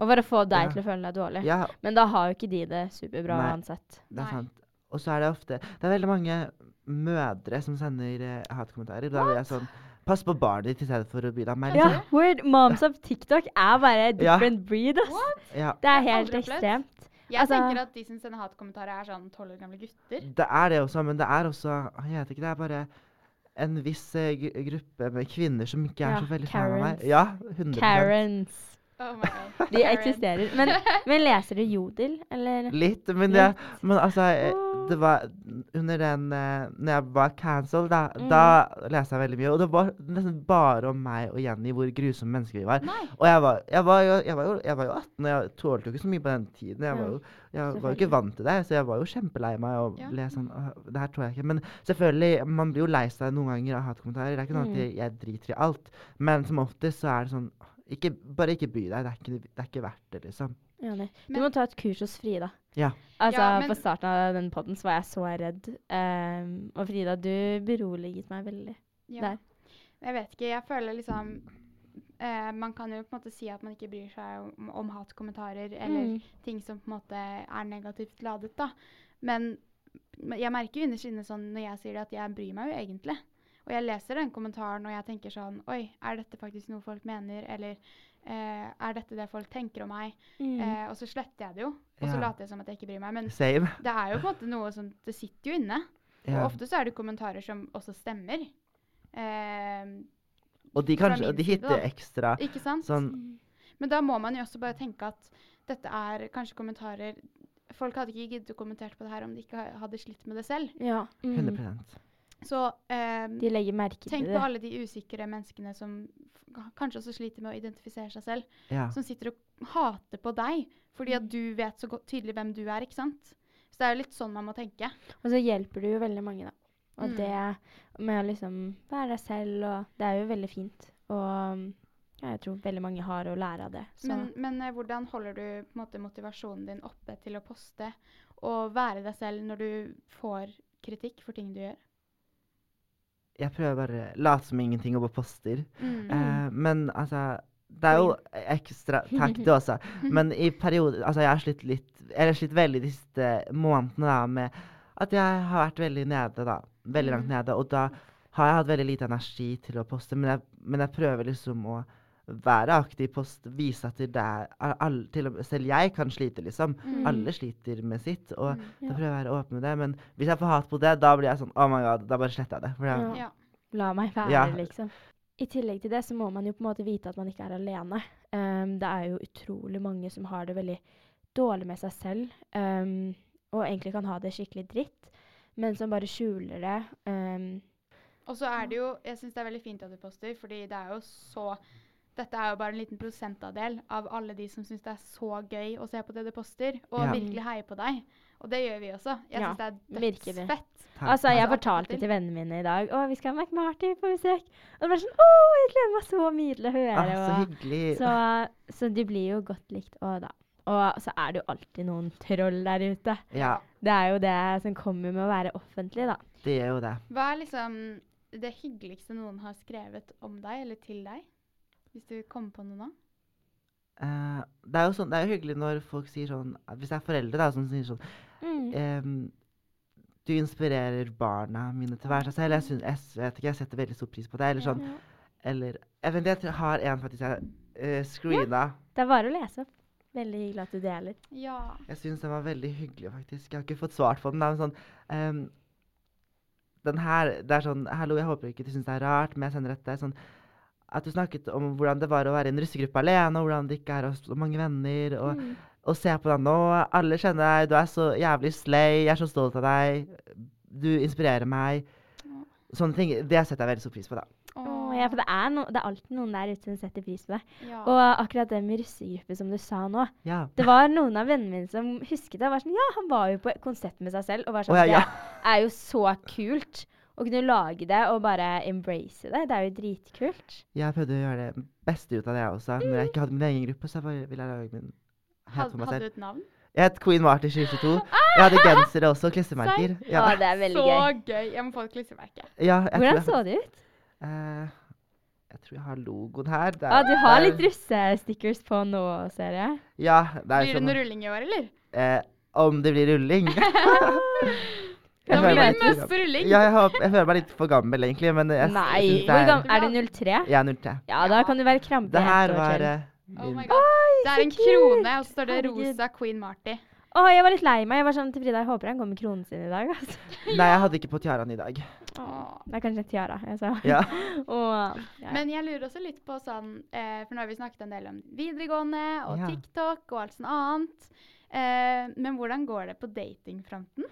S2: Og bare få deg
S3: Ja.
S2: til å føle deg dårlig. Men da har jo ikke de det superbra
S3: Nei.
S2: uansett.
S3: Det
S1: Nei.
S3: er sant. Og så er det ofte Det er veldig mange mødre som sender eh, hatkommentarer. Da blir jeg sånn Pass på barnet ditt i stedet for å bry deg om meg.
S2: Ja,
S3: liksom.
S2: weird moms of TikTok er bare a
S3: Ja.
S2: different breed, ass.
S3: ja.
S2: Det er
S1: Jeg har
S2: helt
S1: aldri opplevd.
S2: ekstremt.
S1: Jeg
S2: Altså-
S1: tenker at de som sender hatkommentarer, er sånn tolv år gamle gutter.
S3: Det er det også, men det er også Jeg vet ikke, det er bare en viss eh, gru- gruppe med kvinner som ikke er
S2: Ja,
S3: så veldig fan av
S2: Karens.
S3: meg. Ja, 100
S2: Karens.
S1: Oh my god.
S2: De
S1: Karen.
S2: eksisterer. Men, men leser du Jodel, eller?
S3: Litt, men, jeg, men altså eh,
S1: Ah.
S3: Det var under den eh, Når jeg var cancelled, da,
S1: Mm.
S3: da leste jeg veldig mye. Og det var nesten bare om meg og Jenny hvor grusomme mennesker vi var. Og jeg var, jeg, var jo, jeg, var jo, jeg var jo 18, og jeg tålte jo ikke så mye på den tiden. Jeg var jo, jeg var jo ikke
S2: selvfølgelig.
S3: vant til det, så jeg var jo kjempelei meg. og
S1: Ja.
S3: ble sånn, «Åh, det her tåler jeg ikke. Men selvfølgelig, man blir jo lei seg noen ganger av hatkommentarer. Det er ikke sånn
S1: Mm.
S3: at jeg, jeg driter i alt. Men som oftest så er det sånn ikke, Bare ikke bry deg. Det er ikke, det er ikke verdt det, liksom.
S2: Ja, nei. du
S1: Men-
S2: må ta et kurs hos Frida.
S3: Ja.
S2: Altså,
S1: Ja, men-
S2: På starten av den podden så var jeg så redd. Ehm, og Frida, du beroliget meg veldig.
S1: Ja.
S2: Der.
S1: Jeg vet ikke. Jeg føler liksom eh, Man kan jo på en måte si at man ikke bryr seg om, om hatkommentarer eller
S2: Mm.
S1: ting som på en måte er negativt ladet, da. Men men jeg merker jo innerst inne sånn når jeg sier det, at jeg bryr meg jo egentlig. Og jeg leser den kommentaren og jeg tenker sånn Oi, er dette faktisk noe folk mener? Eller eh, er dette det folk tenker om meg?
S2: Mm.
S1: Eh, og så sletter jeg det jo. Og så
S3: Ja.
S1: later jeg som at jeg ikke bryr meg. Men
S3: Same.
S1: det er jo på en måte noe som Det sitter jo inne.
S3: Ja.
S1: Og ofte så er det kommentarer som også stemmer. Eh,
S3: Og de,
S1: fra
S3: kanskje,
S1: min
S3: og de
S1: side, da.
S3: hitter ekstra
S1: ikke sant?
S3: sånn
S1: Men da må man jo også bare tenke at dette er kanskje kommentarer Folk hadde ikke giddet å kommentere på det her om de ikke ha- hadde slitt med det selv.
S2: Ja.
S3: 100
S2: Mm.
S1: Så eh,
S2: De legger merke til
S1: tenk
S2: det.
S1: på alle de usikre menneskene som f- kanskje også sliter med å identifisere seg selv.
S3: Ja.
S1: Som sitter og hater på deg fordi at du vet så godt, tydelig hvem du er, ikke sant? Så det er jo litt sånn man må tenke.
S2: Og så hjelper du jo veldig mange, da. Og
S1: Mm.
S2: det med å liksom være deg selv, og det er jo veldig fint. Og ja, jeg tror veldig mange har å lære av det. Så
S1: Men, men eh, hvordan holder du på en måte, motivasjonen din oppe til å poste og være deg selv når du får kritikk for ting du gjør?
S3: Jeg prøver bare å late som ingenting og bare poster.
S1: Mm.
S3: Eh, men altså Det er jo ekstra Takk, du også. Men i perioder Altså, jeg har slitt litt Eller slitt veldig de siste månedene da med at jeg har vært veldig nede, da. Veldig langt nede. Og da har jeg hatt veldig lite energi til å poste, men jeg, men jeg prøver liksom å være aktiv, post, vise at det er a- all- til og med, Selv jeg kan slite, liksom.
S1: Mm.
S3: Alle sliter med sitt. Og da prøver jeg å være åpen med det. Men hvis jeg får hat på det, da blir jeg sånn Oh my god, da bare sletter jeg det. For jeg,
S2: Ja.
S1: Ja.
S2: La meg være,
S3: Ja.
S2: liksom. I tillegg til det så må man jo på en måte vite at man ikke er alene. Ehm, det er jo utrolig mange som har det veldig dårlig med seg selv, ehm, og egentlig kan ha det skikkelig dritt, men som bare skjuler det. ehm,
S1: Og så er det jo Jeg syns det er veldig fint at du poster, fordi det er jo så dette er jo bare en liten prosentandel av alle de som syns det er så gøy å se på det du poster, og
S3: Ja.
S1: virkelig heier på deg. Og det gjør vi også. Jeg
S2: Ja,
S1: syns det er
S2: virkelig.
S1: dødsfett.
S3: Takk.
S2: Altså, Jeg
S1: Altså,
S2: fortalte
S1: absolutt.
S2: til vennene mine i dag å, vi skal ha McMarty på besøk. Og det var sånn Å, jeg gleder meg så mye til å høre.
S3: ah, så
S2: og-
S3: hyggelig.
S2: så, så de blir jo godt likt òg, da. Og så er det jo alltid noen troll der ute.
S3: Ja,
S2: Det er jo det som kommer med å være offentlig, da.
S3: det gjør jo det.
S1: Hva er liksom det hyggeligste noen har skrevet om deg, eller til deg? Hvis du kommer på noe nå?
S3: Eh, det er jo sånn, det er jo hyggelig når folk sier sånn at Hvis det er foreldre da, som sier sånn
S1: Mm.
S3: ehm, Du inspirerer barna mine til å være seg selv. Jeg, syn- jeg, s- vet ikke, jeg setter veldig stor pris på det. Eller sånn. Eller jeg, vet, jeg tror- har en faktisk jeg eh, screena.
S2: Det er bare å lese opp. Veldig hyggelig at du deler.
S1: Ja.
S3: Jeg syns den var veldig hyggelig, faktisk. Jeg har ikke fått svart på den. da, men sånn, ehm, den her, det er sånn, Hallo, jeg håper ikke du syns det er rart, men jeg sender dette. Sånn, at du snakket om hvordan det var å være i en russegruppe alene, og hvordan det ikke er å ha så mange venner.
S1: Mm.
S3: og... Og se på deg nå. Alle kjenner deg. Du er så jævlig slay. Jeg er så stolt av deg. Du inspirerer meg. Sånne ting. Det setter jeg veldig stor pris på, da.
S2: Åh, Mm, ja, for det er, no, det er alltid noen der ute som setter pris på det.
S1: ja.
S2: Og akkurat det med russegruppe som du sa nå.
S3: Ja.
S2: Det var noen av vennene mine som husket det. og Var sånn, ja, han var jo på et konsert med seg selv. Og var sånn,
S3: Å, ja, ja.
S2: Det er jo så kult å kunne lage det og bare embrace det. Det er jo dritkult.
S3: Jeg prøvde å gjøre det beste ut av det, jeg også. Når jeg ikke hadde min egen gruppe, så jeg bare ville jeg lage min helt
S1: Had,
S3: for meg
S1: hadde du
S3: selv.
S1: et navn?
S3: Jeg het Queen Marty 2022. Jeg hadde
S2: Ah!
S3: gensere også, og klistremerker. Ja.
S2: Å, det er veldig
S1: så
S2: gøy.
S1: gøy! Jeg må få et klistremerke.
S3: ja jeg
S2: Hvordan
S3: tror
S2: så
S3: jeg,
S2: det ut?
S3: Eh, jeg tror jeg har logoen her. Det
S2: Å,
S3: er-
S2: Ah, du har
S3: det er-
S2: litt russestickers på nå, ser jeg.
S3: Ja, det er
S1: Blir det
S3: sånn
S1: noe rulling i år, eller?
S3: eh, Om det blir rulling.
S2: Da
S3: Jeg føler
S2: blir det
S3: meg litt for
S1: mest
S3: gammel.
S1: rulling.
S3: Ja, jeg, håper, jeg føler meg litt for gammel, egentlig. Men jeg, s-
S2: Nei,
S3: synes
S2: hvor
S3: det er,
S2: gammel Er du 03?
S3: Jeg er 03.
S2: Ja, da kan du være krampe.
S3: Det
S2: ett
S3: her
S2: år
S3: var
S2: til.
S3: eh,
S1: Oh
S3: min
S1: my god. Det er en krone, og så står det
S2: Herregud.
S1: rosa Queen Marty.
S3: eh,
S2: Å, jeg var litt lei meg. Jeg var sånn til Frida, jeg håper han går med kronen sin i dag. Altså.
S3: Nei, jeg hadde ikke på tiaraen i dag.
S1: Åh.
S2: Det er kanskje en tiara jeg sa.
S3: Ja.
S2: Å, ja.
S1: Men jeg lurer også litt på sånn eh, For nå har vi snakket en del om videregående og
S3: Ja.
S1: TikTok og alt sånt annet. Eh, men hvordan går det på datingfronten?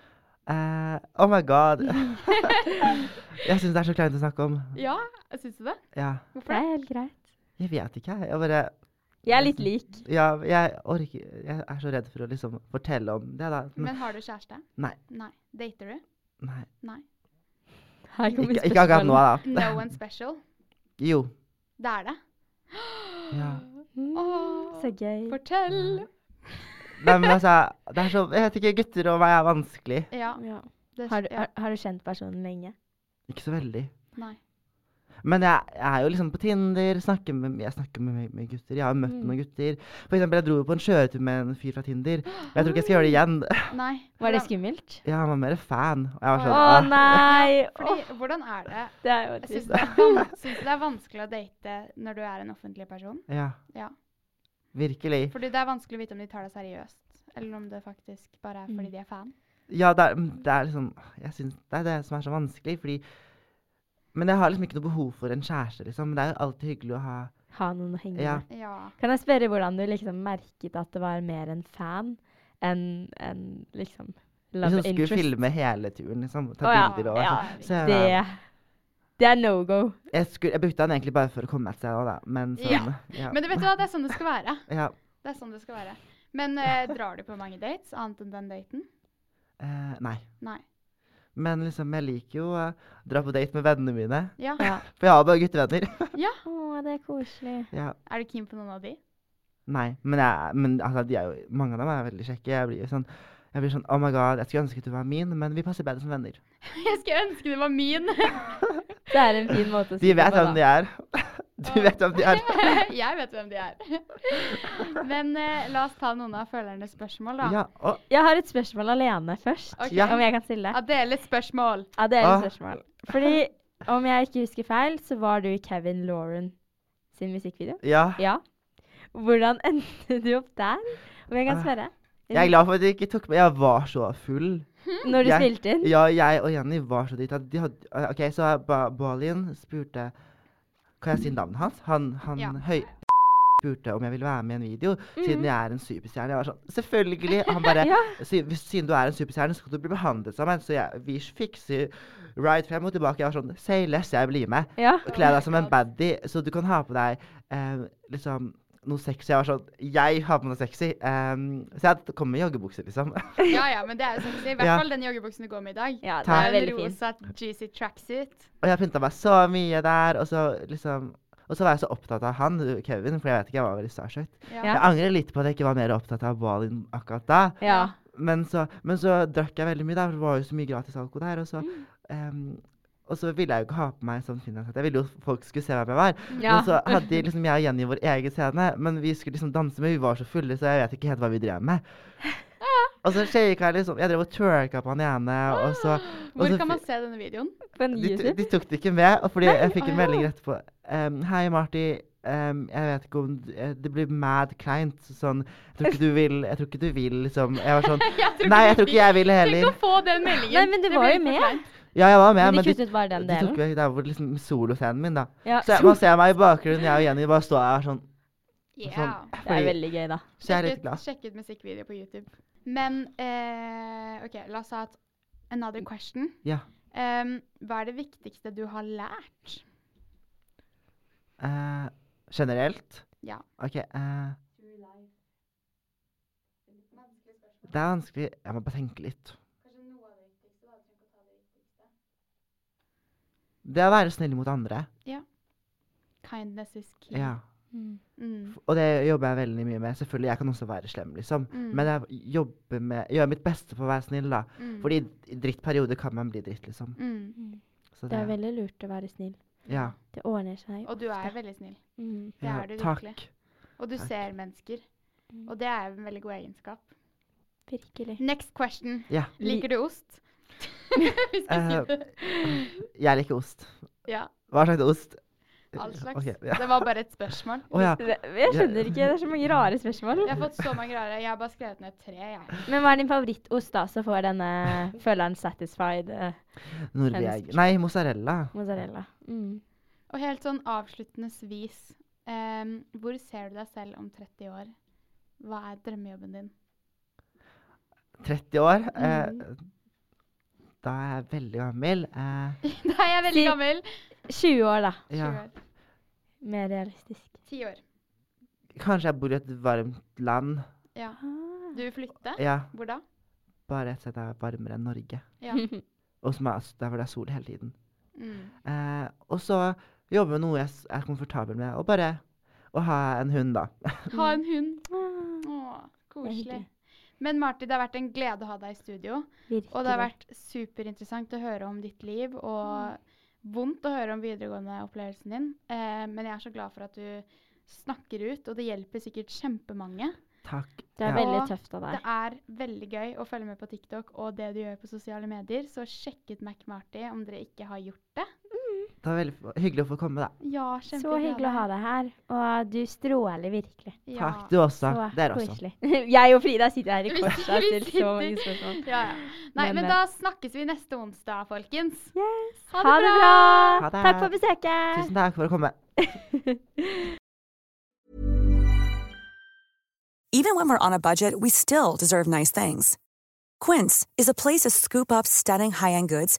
S3: Eh, oh my god. jeg syns det er så kleint å snakke om.
S1: Ja, syns du det?
S3: Ja.
S2: det
S1: Hvorfor det?
S2: er helt greit.
S3: Jeg vet ikke, jeg. Jeg bare
S2: Jeg er litt lik.
S3: Ja, jeg orker Jeg er så redd for å liksom fortelle om det, da. Men,
S1: Men har du kjæreste?
S3: Nei.
S1: Nei. Dater du?
S3: nei.
S1: Nei.
S2: Her kommer
S3: Ikke, ikke akkurat nå, da.
S1: No one special?
S3: Jo.
S1: Det er det.
S3: Ja.
S1: Åh,
S2: Mm. Så gøy. Mm.
S1: Fortell!
S3: Nei, men altså Det er så Jeg vet ikke, gutter og meg er vanskelig.
S1: Ja,
S2: Ja.
S1: det,
S2: Har, du-
S1: ja.
S2: har, har du kjent personen lenge?
S3: Ikke så veldig.
S1: Nei.
S3: Men jeg, jeg er jo liksom på Tinder, snakker med, jeg snakker med, med gutter. Jeg har jo møtt noen gutter. For eksempel, jeg dro jo på en kjøretur med en fyr fra Tinder. Men jeg tror ikke jeg skal gjøre det igjen.
S1: Nei.
S2: Var det
S1: Hvordan-
S2: skummelt?
S3: Ja, han var mer fan. Og jeg
S2: Å
S3: var sånn «Åh,
S2: nei! Åh,
S1: Fordi, hvordan er det?
S2: det er jo
S1: Syns
S2: trist.
S1: du det er van- syns du det er vanskelig å date når du er en offentlig person?
S3: Ja,
S1: Ja.
S3: virkelig.
S1: Fordi det er vanskelig å vite om de tar deg seriøst, eller om det faktisk bare er fordi de er fan.
S3: Ja, det er, det er liksom Jeg syns det er det som er så vanskelig, fordi Men jeg har liksom ikke noe behov for en kjæreste, liksom. Men det er jo alltid hyggelig å ha
S2: Ha noen å henge
S3: Ja.
S2: med.
S1: Ja.
S2: Kan jeg spørre hvordan du liksom merket at det var mer en fan enn en liksom love
S3: Liksom skulle
S2: interest?
S3: filme hele turen, liksom. Ta
S2: Å ja,
S3: bilder og
S2: ja,
S3: sånn. Så jeg,
S2: Det,
S3: var-
S2: det er no go.
S3: jeg, skulle, jeg brukte han egentlig bare for å komme et sted òg, da. Men sånn
S1: Ja.
S3: ja.
S1: Men du vet hva, det er sånn det skal være.
S3: ja.
S1: Det er sånn det skal være. Men eh, drar du på mange dates annet enn den daten?
S3: Eh, nei.
S1: Nei.
S3: Men liksom, jeg liker jo å dra på date med vennene mine.
S1: Ja.
S3: For jeg har bare guttevenner.
S2: Å, det er koselig.
S3: ja.
S1: Er du keen på noen av de?
S3: Nei, men, jeg, men altså, de er jo, mange av dem er veldig kjekke. Jeg blir jo sånn, jeg blir sånn Oh my god, jeg skulle ønske du var min, men vi passer bedre som venner.
S1: Jeg skulle ønske det var min!
S2: Det er en fin måte å si
S3: De
S2: det
S3: vet
S2: på,
S3: hvem
S2: da.
S3: de er. De vet hvem de er.
S1: Jeg vet hvem de er. Men eh, la oss ta noen av følernes spørsmål, da.
S3: Ja, å,
S2: Jeg har et spørsmål alene først,
S1: Ok.
S3: Ja.
S2: om jeg kan stille det.
S1: Adele, spørsmål.
S2: Ja, det er et
S3: Ah.
S2: spørsmål. Fordi, om jeg ikke husker feil, så var du i Kevin Lauren sin musikkvideo.
S3: ja.
S2: Ja. Hvordan endte du opp der? Om jeg kan
S3: Ah.
S2: spørre?
S3: Jeg er glad for at de ikke tok med Jeg var så full.
S2: Når du
S3: jeg-
S2: spilte inn?
S3: Ja, jeg og Jenny var så drita. De hadde, eh, OK, så ba Balin spurte Kan jeg si navnet hans? Han, han
S1: Ja.
S3: høy spurte om jeg ville være med i en video, siden jeg er en superstjerne. Jeg var sånn Selvfølgelig! Og han bare
S2: Ja.
S3: «Sy- hvis- Siden du er en superstjerne, så skal du bli behandlet som en. Så jeg, vi fikser ride frem og tilbake. Jeg var sånn Say less, jeg blir med.
S2: Ja.
S3: Kle deg som en baddie, så du kan ha på deg eh, liksom noe sexy. Jeg var sånn Jeg har på meg noe sexy. Ehm, så jeg kom med joggebukse, liksom.
S1: Ja, ja, men det er jo sexy. I hvert
S3: Ja.
S1: fall den joggebuksen du går med i dag.
S5: Ja,
S1: Det
S3: Takk.
S1: er
S5: den er veldig fin.
S1: en rosa juicy tracksuit.
S3: Og jeg pynta meg så mye der, og så liksom Og så var jeg så opptatt av han, Kevin, for jeg vet ikke, jeg var veldig starstruck.
S5: Ja.
S3: Jeg angrer litt på at jeg ikke var mer opptatt av Balin akkurat da.
S5: Ja.
S3: Men så, men så drakk jeg veldig mye, da, for det var jo så mye gratis alko der. Og så, ehm, og så ville jeg jo ikke ha på meg sånn finlandshette. Jeg ville jo at folk skulle se hvem jeg var.
S5: Ja.
S3: Men så hadde liksom jeg og Jenny vår egen scene, men vi skulle liksom danse, men vi var så fulle, så jeg vet ikke helt hva vi drev med. Og så shaka jeg liksom Jeg drev og twerka på han ene, og så og
S1: Hvor
S3: så
S1: kan man
S3: fi-
S1: se denne videoen?
S5: På en
S3: de,
S5: YouTube.
S3: de tok det ikke med, og fordi jeg fikk en
S1: ah.
S3: melding etterpå. Ehm, Hei, Marti. ehm, jeg vet ikke om d- eh, Det blir mad kleint. Sånn Jeg tror ikke du vil Jeg tror ikke du vil, liksom. Jeg var sånn Nei, jeg tror ikke jeg vil
S1: Tenk
S3: heller.
S1: å få den meldingen.
S5: Nei, men det
S1: blir
S5: var jo
S1: helt
S5: med.
S1: forkleint.
S3: Ja, jeg var med,
S5: Men
S3: men
S5: de
S3: de,
S5: kuttet bare den
S3: de tok
S5: delen.
S3: vekk der hvor liksom soloscenen min, da.
S5: Ja.
S3: Så jeg, man ser meg i bakgrunnen, jeg og Jenny bare står her sånn.
S1: Ja.
S5: Det er veldig gøy, da.
S3: Så jeg er litt
S1: ut-
S3: glad.
S1: sjekk ut musikkvideo på YouTube. Men eh, OK, la oss ha et another question.
S3: Ja.
S1: Em, hva er det viktigste du har lært?
S3: eh, generelt?
S1: Ja.
S3: OK. eh, det er vanskelig Jeg må bare tenke litt. Det å være snill mot andre.
S1: Kindness is key.
S3: Ja.
S1: Mm.
S3: Og det jobber jeg veldig mye med. Selvfølgelig, jeg kan også være slem, liksom.
S1: Mm.
S3: Men jeg jobber med Gjør mitt beste for å være snill, da.
S1: Mm.
S3: Fordi i drittperioder kan man bli dritt, liksom.
S1: mm.
S3: Så
S2: Det er veldig lurt å være snill.
S3: Ja.
S2: Det ordner seg.
S1: Og du er veldig snill.
S2: Mm.
S1: Det
S3: ja
S1: er du
S3: takk.
S1: virkelig. Og du
S3: Takk.
S1: ser mennesker.
S2: Mm.
S1: Og det er en veldig god egenskap.
S2: Virkelig.
S1: Next question.
S3: Ja.
S1: Liker du ost? Vi skal si
S3: Eh,
S1: det.
S3: Jeg liker ost.
S1: Ja,
S3: Hva slags ost?
S1: all slags.
S3: Ok, ja.
S1: Det var bare et spørsmål.
S3: Å ja.
S5: Det- Jeg skjønner ikke. Det er så mange rare spørsmål.
S1: Jeg har fått så mange rare. Jeg har bare skrevet ned tre, jeg.
S2: Men
S5: Men hva er din favorittost, da? Så får denne føleren satisfied eh,
S3: Norveg... Nei, mozzarella.
S5: mozzarella.
S2: Mm.
S1: Og helt sånn avsluttendesvis. em, hvor ser du deg selv om 30 år? Hva er drømmejobben din?
S3: 30 år. eh,
S2: Mm.
S3: da er jeg veldig gammel. Eh,
S1: Da er jeg veldig
S5: Si-
S1: gammel.
S5: 20 år, da.
S3: ja.
S1: 20 år.
S2: Mer realistisk.
S1: 10 år.
S3: Kanskje jeg bor i et varmt land.
S1: Ja. Du vil flytte?
S3: Ja,
S1: Hvor da?
S3: bare et sted der det er varmere enn Norge.
S1: Ja.
S3: Og som er s- der hvor det er sol hele tiden.
S1: Mm.
S3: Eh, og så jobbe med noe jeg s- er komfortabel med, og bare å ha en hund, da.
S1: Ha en hund.
S2: Ah,
S1: Åh, koselig.
S2: Mm. hyggelig.
S1: Men Marti, det har vært en glede å ha deg i studio.
S2: virkelig.
S1: Og det har vært superinteressant å høre om ditt liv, og vondt å høre om videregående-opplevelsen din. Eh, men jeg er så glad for at du snakker ut, og det hjelper sikkert kjempemange.
S3: Takk.
S2: Det er
S3: Ja.
S2: veldig
S1: Og
S2: tøft av
S1: Det
S2: deg.
S1: er veldig gøy å følge med på TikTok og det du gjør på sosiale medier, så sjekk ut MacMarty om dere ikke har gjort det.
S3: Det var veldig f- hyggelig å få komme, da.
S1: Ja,
S2: Så hyggelig å ha deg her. Og du stråler virkelig.
S1: Ja.
S3: Takk, du også.
S2: Så
S3: Dere også.
S5: Jeg og Frida sitter her i
S1: Vi-
S5: korset og
S1: vi
S5: stiller så mange
S1: sitter-
S5: spørsmål.
S1: Ja, ja. Nei,
S5: Men,
S1: men
S5: eh,
S1: da snakkes vi neste onsdag, folkens.
S5: Ha
S1: det
S5: det
S1: bra!
S5: bra!
S3: Ha det.
S5: Takk for besøket!
S3: Tusen takk for å komme.
S6: Even when we're on a budget, we still deserve nice things. Quince is a place to scoop up stunning high end goods